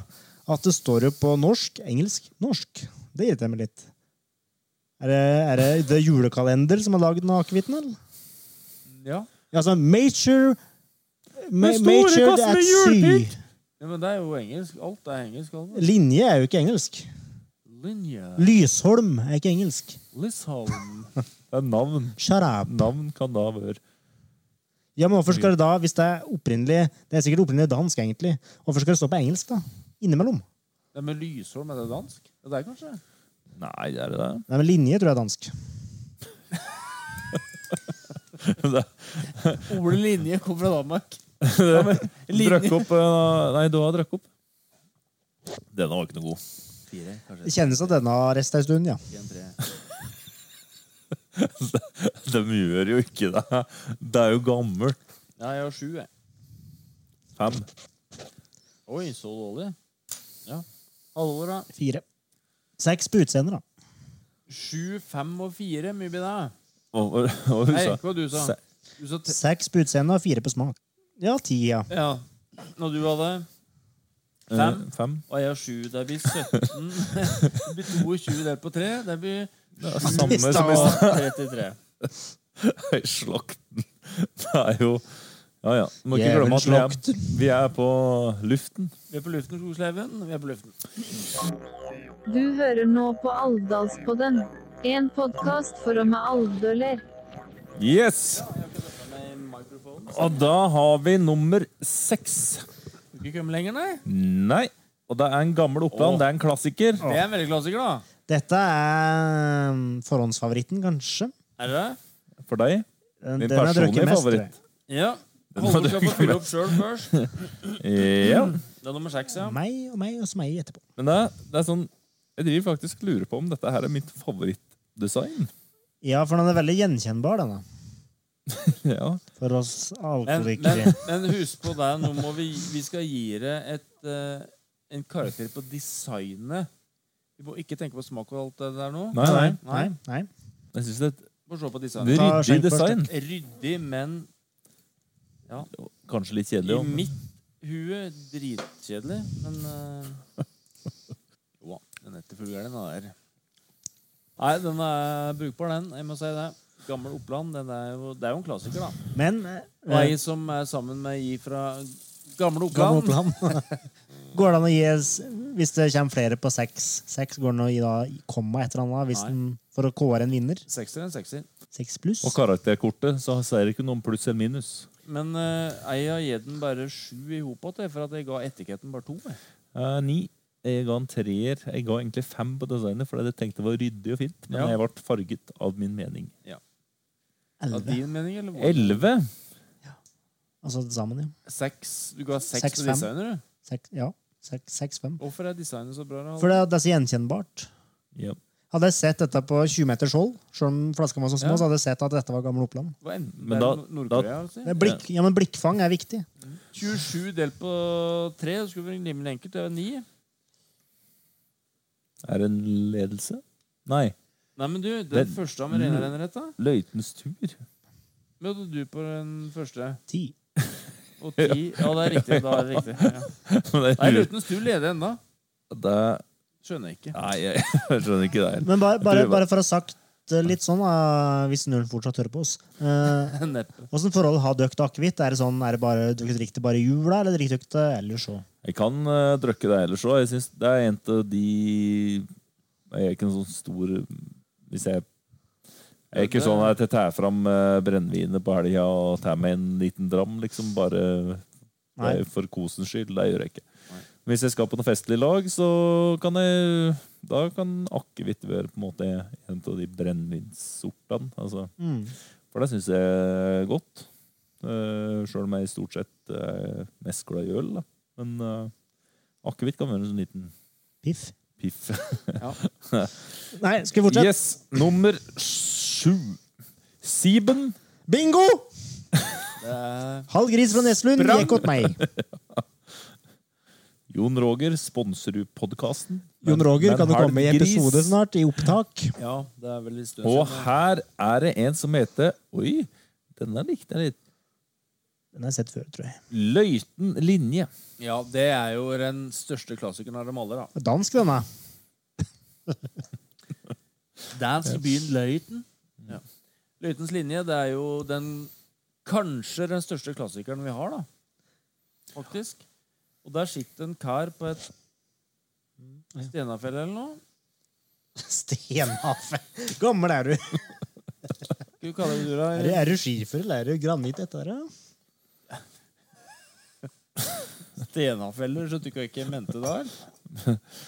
at det står jo på norsk, engelsk, norsk. Det irriterer meg litt. Er det, er det The Julekalender som har lagd den akevitten, eller? Ja. Ja, Altså, Major ma Den store Major kassen at med sea. julepynt. Ja, men det er jo engelsk. Alt er engelsk. Albert. Linje er jo ikke engelsk. Linja. Lysholm er ikke engelsk. Lisholm. Det er navn. Sharab. Navn kan da være Ja, men hvorfor skal det da, hvis det er opprinnelig Det er sikkert opprinnelig dansk, egentlig. Hvorfor skal det stå på engelsk, da? Innimellom. Ja, men Lysholm, er det dansk? Ja, det er kanskje det. Nei, er det det? Nei, men linje tror jeg er dansk. det? Ole Linje kom fra Danmark. Drakk opp eh, Nei, du har drukket opp. Denne var ikke noe god. Fire, kanskje. Det kjennes at denne har resta en stund, ja. En, tre. De gjør jo ikke det. Det er jo gammelt. Ja, jeg har sju, jeg. Fem. Oi, så dårlig. Ja. Halvor, da. Fire. Seks på utseendet, da. Sju, fem og fire. Mye blir det. Hva var hva var det Nei, du sa? hva du sa. Se- Du sa te Seks på utseendet og fire på smak. Ja, ti, ja. ja. Når du hadde eh, Fem. Fem. Og jeg har sju. Det blir 17. Det blir 22 delt på 3. Det blir Det er samme I stad. som i stad. 33. Slakten. Det er jo Ja, ja. Må ikke Jævel glemme at vi slakt. er, vi er på luften. Vi er på luften, Skogslaugen. Vi er på luften. Du hører nå på Alvdalspodden. En podkast for og med alvdøler. Yes! Med mikrofon. Og da har vi nummer seks. Skal ikke komme lenger, nei? Nei. Og det er en gammel Oppland. Det er en klassiker. Det er en veldig klassiker, da. Dette er mm, forhåndsfavoritten, kanskje. Er det det? For deg. Den, Min den har jeg personlige drukket mest. tror jeg. favoritt. Ja. Holder skal få fylle opp sjøl først. Ja. Mm. Det er nummer seks, ja. Meg og meg og så meg etterpå. Men det, det er sånn Jeg driver faktisk og lurer på om dette her er mitt favorittdesign. Ja, for den er veldig gjenkjennbar, denne. Ja. For oss Men, alkoholikere. men, men husk på det, nå må vi, vi skal gi det et, eh, en karakter på designet. Vi må ikke tenke på smak og alt det der nå. Nei, nei. Nei, nei. Jeg syns det Vi Må se på er et designet. Ta ryddig skjenk først, design. Ryddig, men Kanskje litt i kjedelig òg. mitt hue dritkjedelig. Men eh, Jo da, den etterfølger den den der. Nei, den er brukbar, den. Jeg må si det. Gammel Oppland. Den er jo, det er jo en klassiker, da. Men Og eh, ei som er sammen med ei fra gamle Gamle Oppland. Oppland. går det an å gi s- Hvis det kommer flere på seks, seks går det an å gi da i komma et eller annet hvis Nei. den, for å kåre en vinner? Sekser en sekser. Seks pluss? Og karakterkortet så ser det ikke noen pluss eller minus. Men eh, jeg har gitt den bare sju i hop igjen, for at jeg ga etiketten bare to. jeg. Eh, ni. Jeg ga en treer. Jeg ga egentlig fem på designet, fordi jeg tenkte det var ryddig og fint. Men Ja. jeg ble farget av min mening. Av Elleve. din mening, eller? vår? Elleve. Altså til sammen, ja. Seks. Du ga seks, Seks, på fem. designer, du. Seks, ja. Seks, seks, fem. Hvorfor er designet så bra? Harald? For det, det er så gjenkjennbart. Ja. Hadde jeg sett dette på 20 meters hold, selv om flaskene var så små, Ja. så hadde jeg sett at dette var Gamle Oppland. Hva enten Men det da- er Nord-Korea altså? Det er Blikk, ja, men blikkfang er viktig. 27 delt på 3, det skulle være rimelig enkelt. Det er 9. Er det en ledelse? Nei. Nei, men du, den Den- første av Marina renner rett, da. Løytens tur. Hva hadde du på den første? Ti. Og 10. Ja, det er riktig. Da er det riktig. Ja. det Nei, er lurt. Lutens, du leder ennå. Det Skjønner jeg ikke. Nei, jeg skjønner ikke det heller. Men bare, bare, Jeg tror- bare for å ha sagt det litt sånn, eh, hvis Null fortsatt hører på oss eh, Neppe. Åssen forhold har dere til akevitt? Er det sånn, er det bare, dere drikker det bare i jula, eller drikker dere det ellers òg? Jeg kan uh, drøkke det ellers òg. Jeg synes det er en av de Jeg er ikke en sånn stor Hvis jeg jeg er ikke sånn at jeg tar fram eh, brennevinet på helga og tar meg en liten dram, liksom. Bare det Nei. er for kosens skyld. Det gjør jeg ikke. Men Hvis jeg skal på noe festlig lag, så kan jeg Da kan akevitt være på en måte en av de brennevinssortene. Altså. Mm. For det syns jeg er godt. Uh, Sjøl om jeg stort sett er mest glad i øl. Da. Men eh, akevitt kan være en sånn liten Piff. piff. Nei, skal vi fortsette? Yes! Nummer sju. Siben. Bingo! Det er Halv gris fra Neslund Sprang! gikk åt meg. Jon Roger sponser jo podkasten. Jon Roger, Men- kan du men har komme i gris? episode snart? I opptak? Ja, det er veldig stund Og siden. her er det en som heter Oi, denne likte jeg litt. Den har jeg sett før, tror jeg. Løiten linje. Ja, det er jo den største klassikeren av dem alle, da. Dansk, denne. Dance i byen Løyten. Ja. Løytens linje, det er jo den kanskje den største klassikeren vi har, da. Faktisk. Og der sitter en kar på et Stenafjell eller noe. Stenhafe. Gammel er du. Skal vi kalle det dura? Er du, er du skifer, eller er du granitt dette her? da? Stenafeller, skjønte du ikke hva jeg ikke mente der?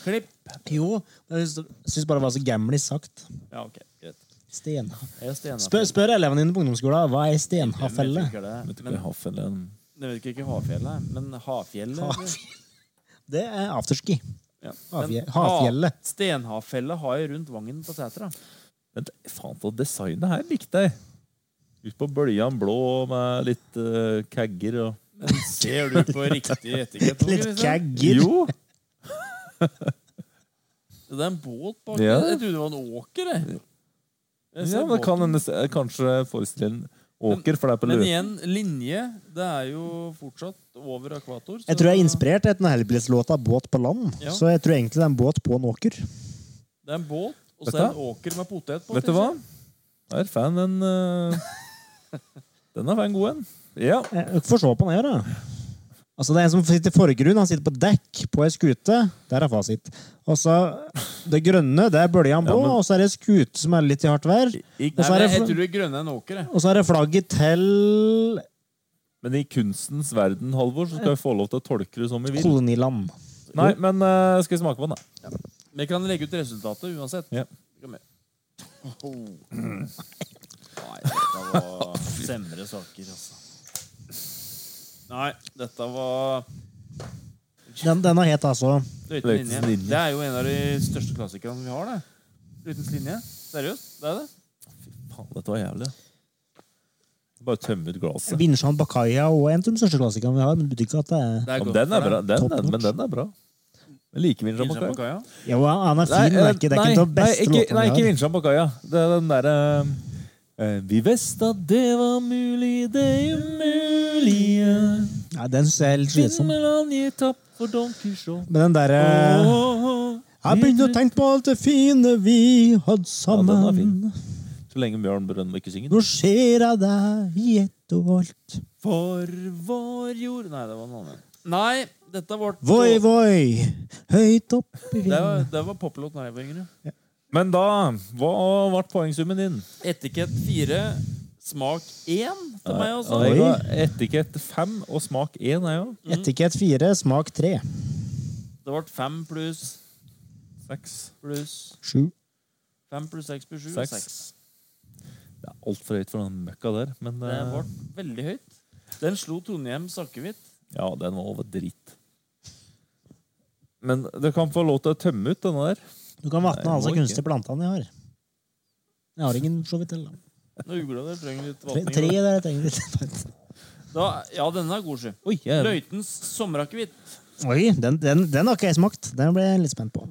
Klipp. Jo, jeg syns bare det var så gamli sagt. Ja, ok, greit. Stenha. Jeg er Stenafjell. Spør, spør elevene dine på ungdomsskolen hva er stenhafelle. Jeg vet ikke hva det Vet du er, ikke, Men, Haffelen jeg vet ikke hva Hafjellet er, men Hafjellet eller? Det er afterski. ja. Havje- Men Hafjellet. Ha- Stenhafjellet har jeg rundt vangen på setra. Men det- faen, så designet her likte jeg. Ut på bøljan blå med litt eh, kagger og Ser du på riktig liksom? etikett? Litt Kristian? kagger. Jo! Det er en båt bak Ja. der. Jeg trodde det var en åker. Jeg. Jeg ser Ja, men det kan båten. hende eh, kanskje forestille en åker, for det er på Men løp. igjen, linje Det er jo fortsatt over ekvator. så- Jeg tror jeg er inspirert etter den Hellbillies-låta 'Båt på land'. Ja. Så jeg tror egentlig det er en båt på en åker. Det er en båt, og Vet så du er det en åker med potet på. Vet du hva? Jeg er fan en eh, Den er fan god en. Ja. Jeg Eh, får se på den her, da. Altså, det er en som sitter i forgrunn. Han sitter på dekk på ei skute. Der er fasit. Og så det grønne, det er bølja blå, Ja, men- og så er det ei skute som er litt i hardt vær. Og Nei, så er men jeg det, tror det grønne er en åker. Jeg. og så er det flagget til Men i kunstens verden, Halvor, så skal jeg få lov til å tolke det som vi vil. koloniland. Nei, men eh, skal vi smake på den, da? Men jeg kan legge ut resultatet uansett. Ja. Kom her. Nei, dette var semre saker, altså. Nei, dette var Den, denne het altså Løytens Løytens linje. linje. Det er jo en av de største klassikerne vi har, det. Løytens linje. Seriøst, det er det. Faen, dette var jævlig. Bare tømme ut glasset. Vinsjan Bakaya og en av de største klassikerne vi har. Men det betyr ikke at det er det Ja, godt men den for er bra. deg. Den, Top den, men notch. den er bra. Jeg liker Vinsja Vinsja Bacaya. Bacaya. Jo, han er fin, det er ikke, det er ikke den beste eh, nei, ikke, låta nei, ikke vi har. Vinsja Bacaya. Det er den derre eh, Vi visste at det var mulig, det umulige. Nei, den synes jeg er litt slitsom. Vindmøllan gir tapt for Don Quijote. Men den derre Eh. Jeg begynte å tenke på alt det fine vi hadde sammen. Ja, den er Så lenge Bjørn Brøndbo ikke synger. Nå skjer jeg deg i ett og alt. For vår jord Nei, det var en annen. Nei, dette var Voi, voi, høyt opp i Det var, vinden. det var poplåt da jeg var yngre. Men da, hva ble poengsummen din? Etikett fire, smak én til meg også. Jeg Oi. ga Etikett fem og smak én, jeg òg. Etikett fire, smak tre. Det ble fem pluss Seks. pluss Sju. Fem pluss seks pluss sju. Seks. Seks. Det er altfor høyt for den møkka der, men Det eh, ble veldig høyt. Den slo Trondheim sakkevidt. ja, den var over dritt. Men du kan få lov til å tømme ut denne der. Du kan vatne Nei, alle må de ikke. kunstige plantene jeg har. Jeg har ingen så vidt heller. Når ugla der trenger litt Tre, tre vatning. der jeg trenger litt. Da, ja, denne er god, sjø. Oi, jeg, Løytens sommerakevitt. Oi, den, den, den har ikke jeg smakt. Den ble jeg litt spent på.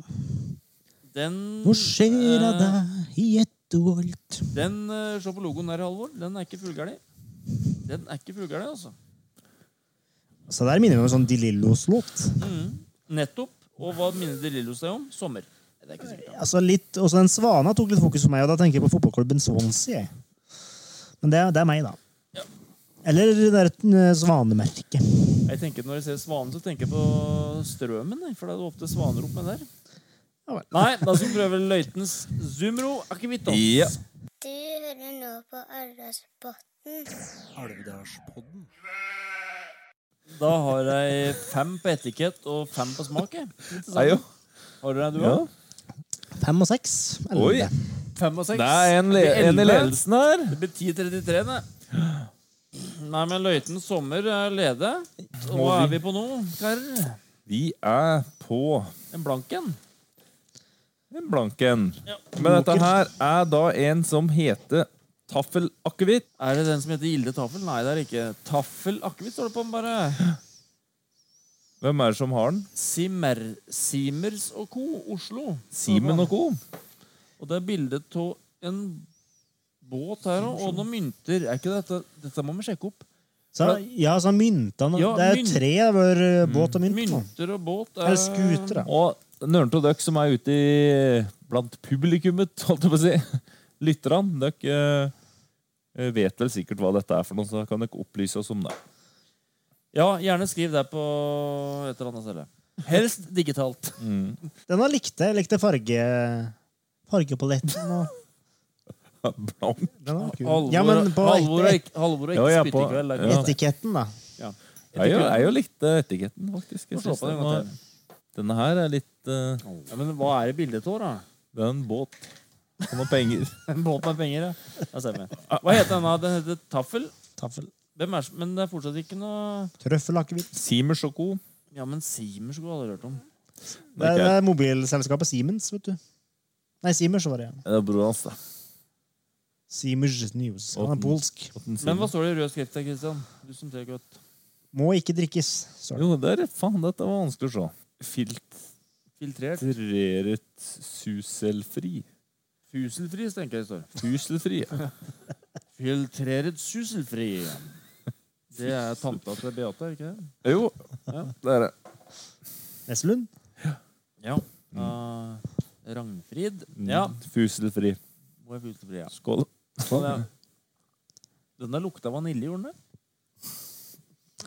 Den Nå skjer jeg eh, deg i ett og alt. Den, eh, Se på logoen der, Halvor. Den er ikke fullgæren. Den er ikke fullgæren, altså. Så der minner vi om en sånn De Lillos-låt. Nettopp. Og hva minner De Lillos deg om? Sommer. Nei, Det er ikke sikkert. Altså litt, også den svana tok litt fokus på meg, og da tenker jeg på fotballklubben Swansea. jeg. Men det, det er meg, da. Eller det der eh, svanemerket. Jeg tenker Når jeg ser svanen, så tenker jeg på strømmen. jeg, For det er ofte svaner opp med der. Ja vel. Nei, da skal vi prøve Løytens Zumro Akevittos. ja. Du hører nå på Arendalsbotn. Alvdalspodden. Da har jeg fem på etikett og fem på smak. jeg. Litt til Nei, jo. sammen. Har dere en du Ja. òg? Fem og seks. Oi. elleve. Fem og seks? Det er en, le Det blir en i elleve. ledelsen her. Det blir 10.33, det. Nei, men Løytens sommer er lede. Og hva er vi på nå, karer? Vi er på En blank en? Den blanken. Men dette her er da en som heter Taffel akevitt. Er det den som heter Gilde Taffel? Nei, det er det ikke. Taffel akevitt står det på den bare. Hvem er det som har den? Simmer, Simers og co. Oslo. Simen og co. Og det er bilde av en båt her og og noen mynter. Er ikke dette Dette må vi sjekke opp. Så, ja, så myntene Ja, Det er jo mynt. Mm. tre det var eh, båt og mynt. nå. Mynter og båt er Eller skuter, da. Og Nørnt og Døkk som er ute i, blant publikummet, holdt jeg på å si. Lytterne, dere eh, vet vel sikkert hva dette er for noe, så da kan dere opplyse oss om det. Ja, gjerne skriv det på et eller annet sted. Helst digitalt. Mm. Den har likte. Jeg likte farge... fargepaletten. Og... Blank. Den var kul. Halvor Ja, men på Halvor er et, ikke, Halvor er Ja, ikke jeg er spytt i på- kveld. det er ja. klart. etiketten, da. Jeg, jo, jeg jo likte etiketten, faktisk. Jeg Få slå synes på den en den gang var, denne her er litt eh, Ja, men hva er det bildet av, da? Det er en båt og noen penger. En båt med penger, ja. Da ser vi. Ah, Hva heter den? da? Den heter Taffel. Taffel. Hvem er, men det er fortsatt ikke noe Trøffelakevitt. Simers og co. Ja, men Simers skulle jeg aldri hørt om. Det, er- det er mobilselskapet Siemens, vet du. Nei, Siemers var det. ja. Det er broren hans, da. Siemers News. Han er polsk. Åtten Men hva Siemens. står det i rød skrift der, Christian? Du som ser godt. Må ikke drikkes. Sorry. Jo, det er rett. Faen, dette var vanskelig å se. Filtrert. Filtreret suselfri. Fuselfri, tenker jeg det står. Fuselfri. ja. Filtreret suselfri. Det er tanta til Beate, er det ikke det? Jo, det er det. Nesselund? Ja. Mm. Ah, Ragnfrid. Ja. Fuselfri. Hun er fuselfri, ja. Skål. Sånn, ja. Den der lukta vanilje, gjorde den det?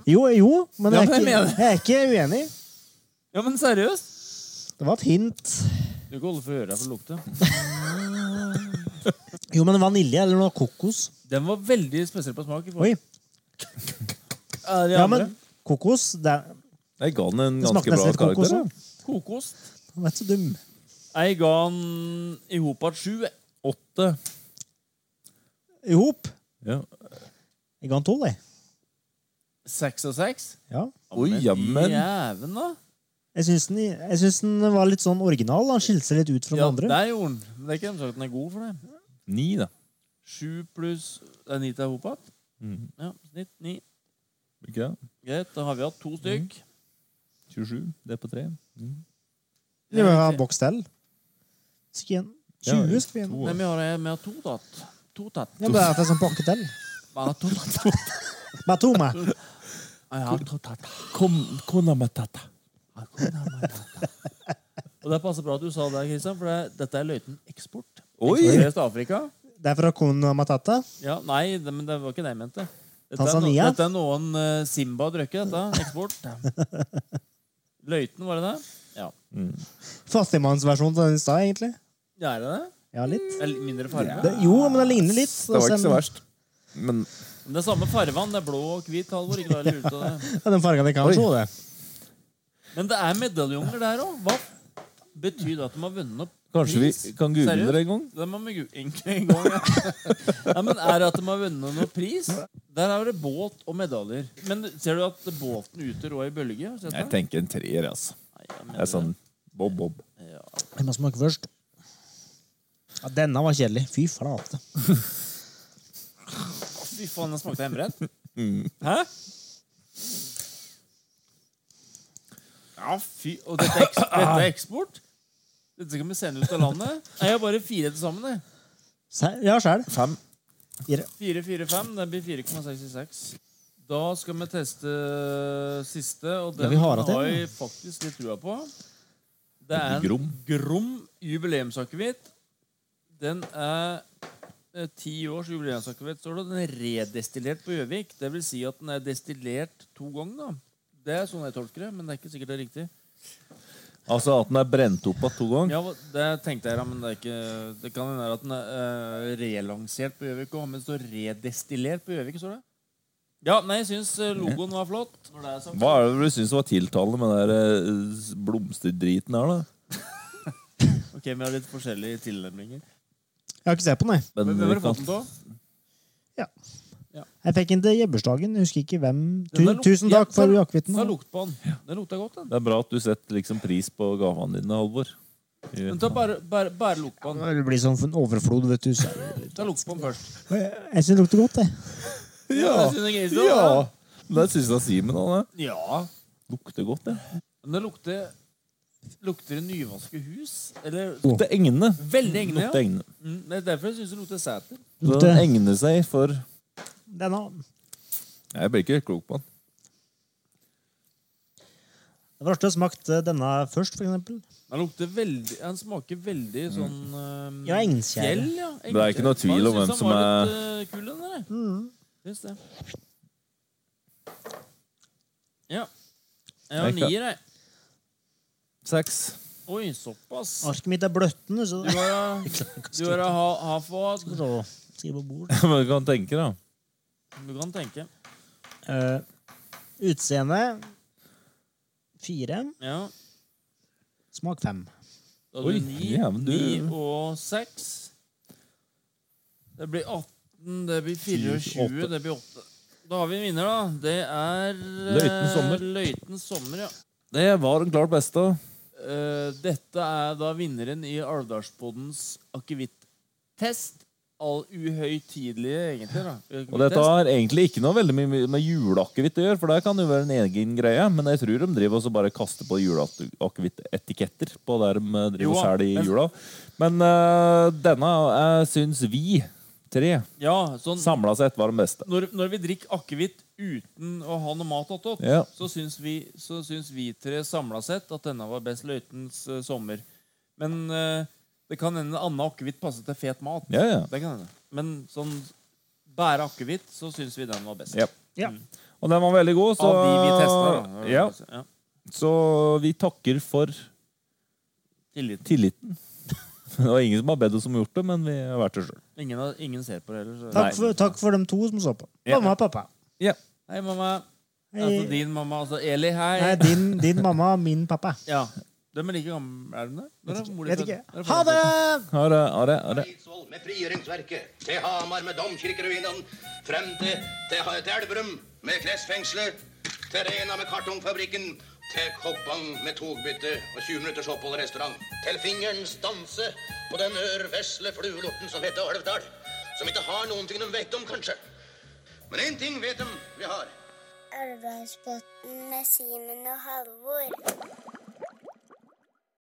Jo, eh, jo, men, Ja, men jeg jeg, er ikke, mener det. jeg er ikke uenig. Ja, men seriøst? Det var et hint. Du kan holde for øra for å lukte. Jo, men vanilje eller noe kokos. Den var veldig spesiell på smak. i forhold- Oi. Er det Ja, andre? men kokos Det, er, Jeg ga den en det ganske smakte nesten bra litt kokos. karakter. da. da. Kokost. Den er ikke så dum. Jeg ga den i hop at sju. Åtte. I hop. Ja. Jeg ga den tolv, jeg. Seks og seks. Ja. Oi, jammen. Jæven, da. Jeg syns den, jeg syns den var litt sånn original. Han skilte seg litt ut fra Ja, den andre. der gjorde den. Men Det er ikke den sagt den er god for det. Ni, da. Sju pluss Det er ni til hop at. Mhm. Ja, snitt ni. Ikke det? Greit, da har vi hatt to Mhm. stykk. 27. Det er på tre. Vi må ha boks til. Skal igjen. Ja, 20 skal vi igjen. to. Nei, vi har, vi har to tatt. To tatt. Ja, men det er at det er sånn pakke til. Vi har to tatt. Med to med. Jeg har to tatt. Konamatata. Og det passer bra at du sa det, Kristian, for det, dette er løyten eksport. Oi! Eksporteres til Afrika. Det er fra Kona Matata. Ja, nei, det, men det var ikke det jeg mente. Dette er, no, Tanzania? dette er noen eh, Simba drøkker, dette. Eksport. Løyten, var det det? Ja. Fattigmannsversjonen av den i stad, egentlig. Det er det det? Ja, litt. Eller mindre farge? Det, jo, men den ligner litt. Det var ikke så Også en- verst. Men Men Det er samme fargen. Det er blå og hvit, Halvor. Ikke vær lurt av det. Ja, den fargen jeg kan se, det. Men det er medaljonger der òg. Hva betyr det at de har vunnet opp kanskje vi pris? kan google Seriøst? det en gang? Det må vi gu- egentlig en gang, ja. Nei, men Er det at de har vunnet noen pris? Der er det båt og medaljer. Men ser du at båten ute rår i bølge? Har du sett Jeg det? tenker en treer, altså. Nei, jeg mener Det er sånn bob, bob. Ja. Jeg må smake først. Ja, denne var kjedelig. Fy flate. Fy faen, den smakte hjemmebrent. Hæ? Ja, fy Og dette er, eks dette er eksport? Dette skal vi sende ut av landet? Nei, Jeg har bare fire til sammen. jeg. Se- Ja, sjæl. Fem. Fire, fire, fem. Det blir 4,66. Da skal vi teste siste, og Ja, den vi har har, hatt en, ja. jeg faktisk litt trua på. Det er en Grom. Grom jubileumsakevitt. Den er eh, ti års jubileumsakevitt, står det. Den er redestillert på Gjøvik. Det vil si at den er destillert to ganger. da. Det er sånn jeg tolker det, men det er ikke sikkert det er riktig. Altså at den er brent opp av to ganger. Ja, hva- Det tenkte jeg, da, men det, er ikke, det kan hende at den er eh, relansert på Gjøvik òg. Men det står redestillert på Gjøvik, står det. Ja, nei, jeg syns eh, logoen var flott. Når det er sånn. sagt. Hva er det du syns var tiltalende med den der eh, blomsterdriten her, da? Ok, Vi har litt forskjellige tilnærminger. Jeg har ikke sett på den, jeg. Men Hvem vi har du kan- fått den på? Jeg fikk den til jebbursdagen. Jeg Husker ikke hvem. Tu Den har luk- tusen takk Ja, for den- jakevitten. Den har lukt på den. Den lukta godt, den. Det er bra at du setter liksom pris på gavene dine, Halvor. Men ta bare, bare, bare lukt på den. Det blir sånn for en overflod, vet du. Så. Ta lukt på den først. Jeg syns det lukter godt, jeg. Ja! Jeg synes den er grisen, ja. Det syns jeg Simen han er. ja. Lukter godt, det. Men det lukter Lukter det nyvasket hus? Eller Lukter egne. Veldig egne, Lukter ja. egne. Mm, det er derfor jeg syns det lukter sæter. Så Lukter- den egner seg for Denne. Jeg blir ikke helt klok på den. Det var artig å smake denne først, for eksempel. Den lukter veldig Den smaker veldig sånn eh, Ja, engskjær. fjell, ja. Mm. Det er ikke noe tvil om hvem som eh, Kul, den der. Syns det. Jeg har Nei, ikke. nier, jeg. Seks. Oi, såpass. Arket mitt er bløttende, så Du har, du har ha, ha fått Skal vi se. Skriv på bord. Men du kan tenke, da. Du kan tenke. Eh, utseende fire. Ja. Smak fem. Da hadde Oi, du ni, jævlen, du- ni og seks. Det blir 18, det blir 24, Åtte. det blir 8. Da har vi en vinner, da. Det er eh, Løyten Sommer. Løyten Sommer, ja. Det var den klart beste. Eh, dette er da vinneren i Alvdalspoddens akevitt-test. All uhøytidelige, egentlig. da Og dette har egentlig ikke noe veldig mye med juleakevitt å gjøre, for det kan jo være en egen greie, men jeg tror de driver og så bare kaster på juleakevittetiketter på der de driver Jo, og selger i men- jula. Men eh, denne uh, syns vi tre Ja, sånn samla sett var den beste. når, når vi drikker akevitt uten å ha noe mat attåt, Ja. så, syns vi, så syns vi tre samla sett at denne var best løytens eh, sommer. Men eh, det kan hende annen akevitt passer til fet mat. Ja, ja. Det kan hende. Men sånn bare akevitt, så syns vi den var best. Ja. Ja. Og den var veldig god, så Av de vi testet, da. Ja, Ja. så vi takker for Tillit. tilliten. Det var ingen som har bedt oss om å gjort det, men vi har vært det sjøl. Ingen, har- ingen ser på det heller. Så. Takk for, takk for de to som så på. Ja. Mamma og pappa. Hei, mamma. Altså Hei. din mamma. Altså Eli, hei. Nei, din, din mamma, min pappa. Ja. De er like gamle, er de det? Når er mor di Vet født? ikke. Når er Ha faren din det! født? Har det, har det, har det. Eidsvoll med frigjøringsverket, til Hamar med domkirkeruinene, frem til, til, til Elverum med Kressfengselet, til Rena med kartongfabrikken, til Koppang med togbytte og 20 minutters opphold i restaurant, til fingerens danse på den ørvesle fluelorten som heter Alvdal, som ikke har noen ting de vet om, kanskje. Men én ting vet de vi har. Alvdalsbotn med Simen og Halvor.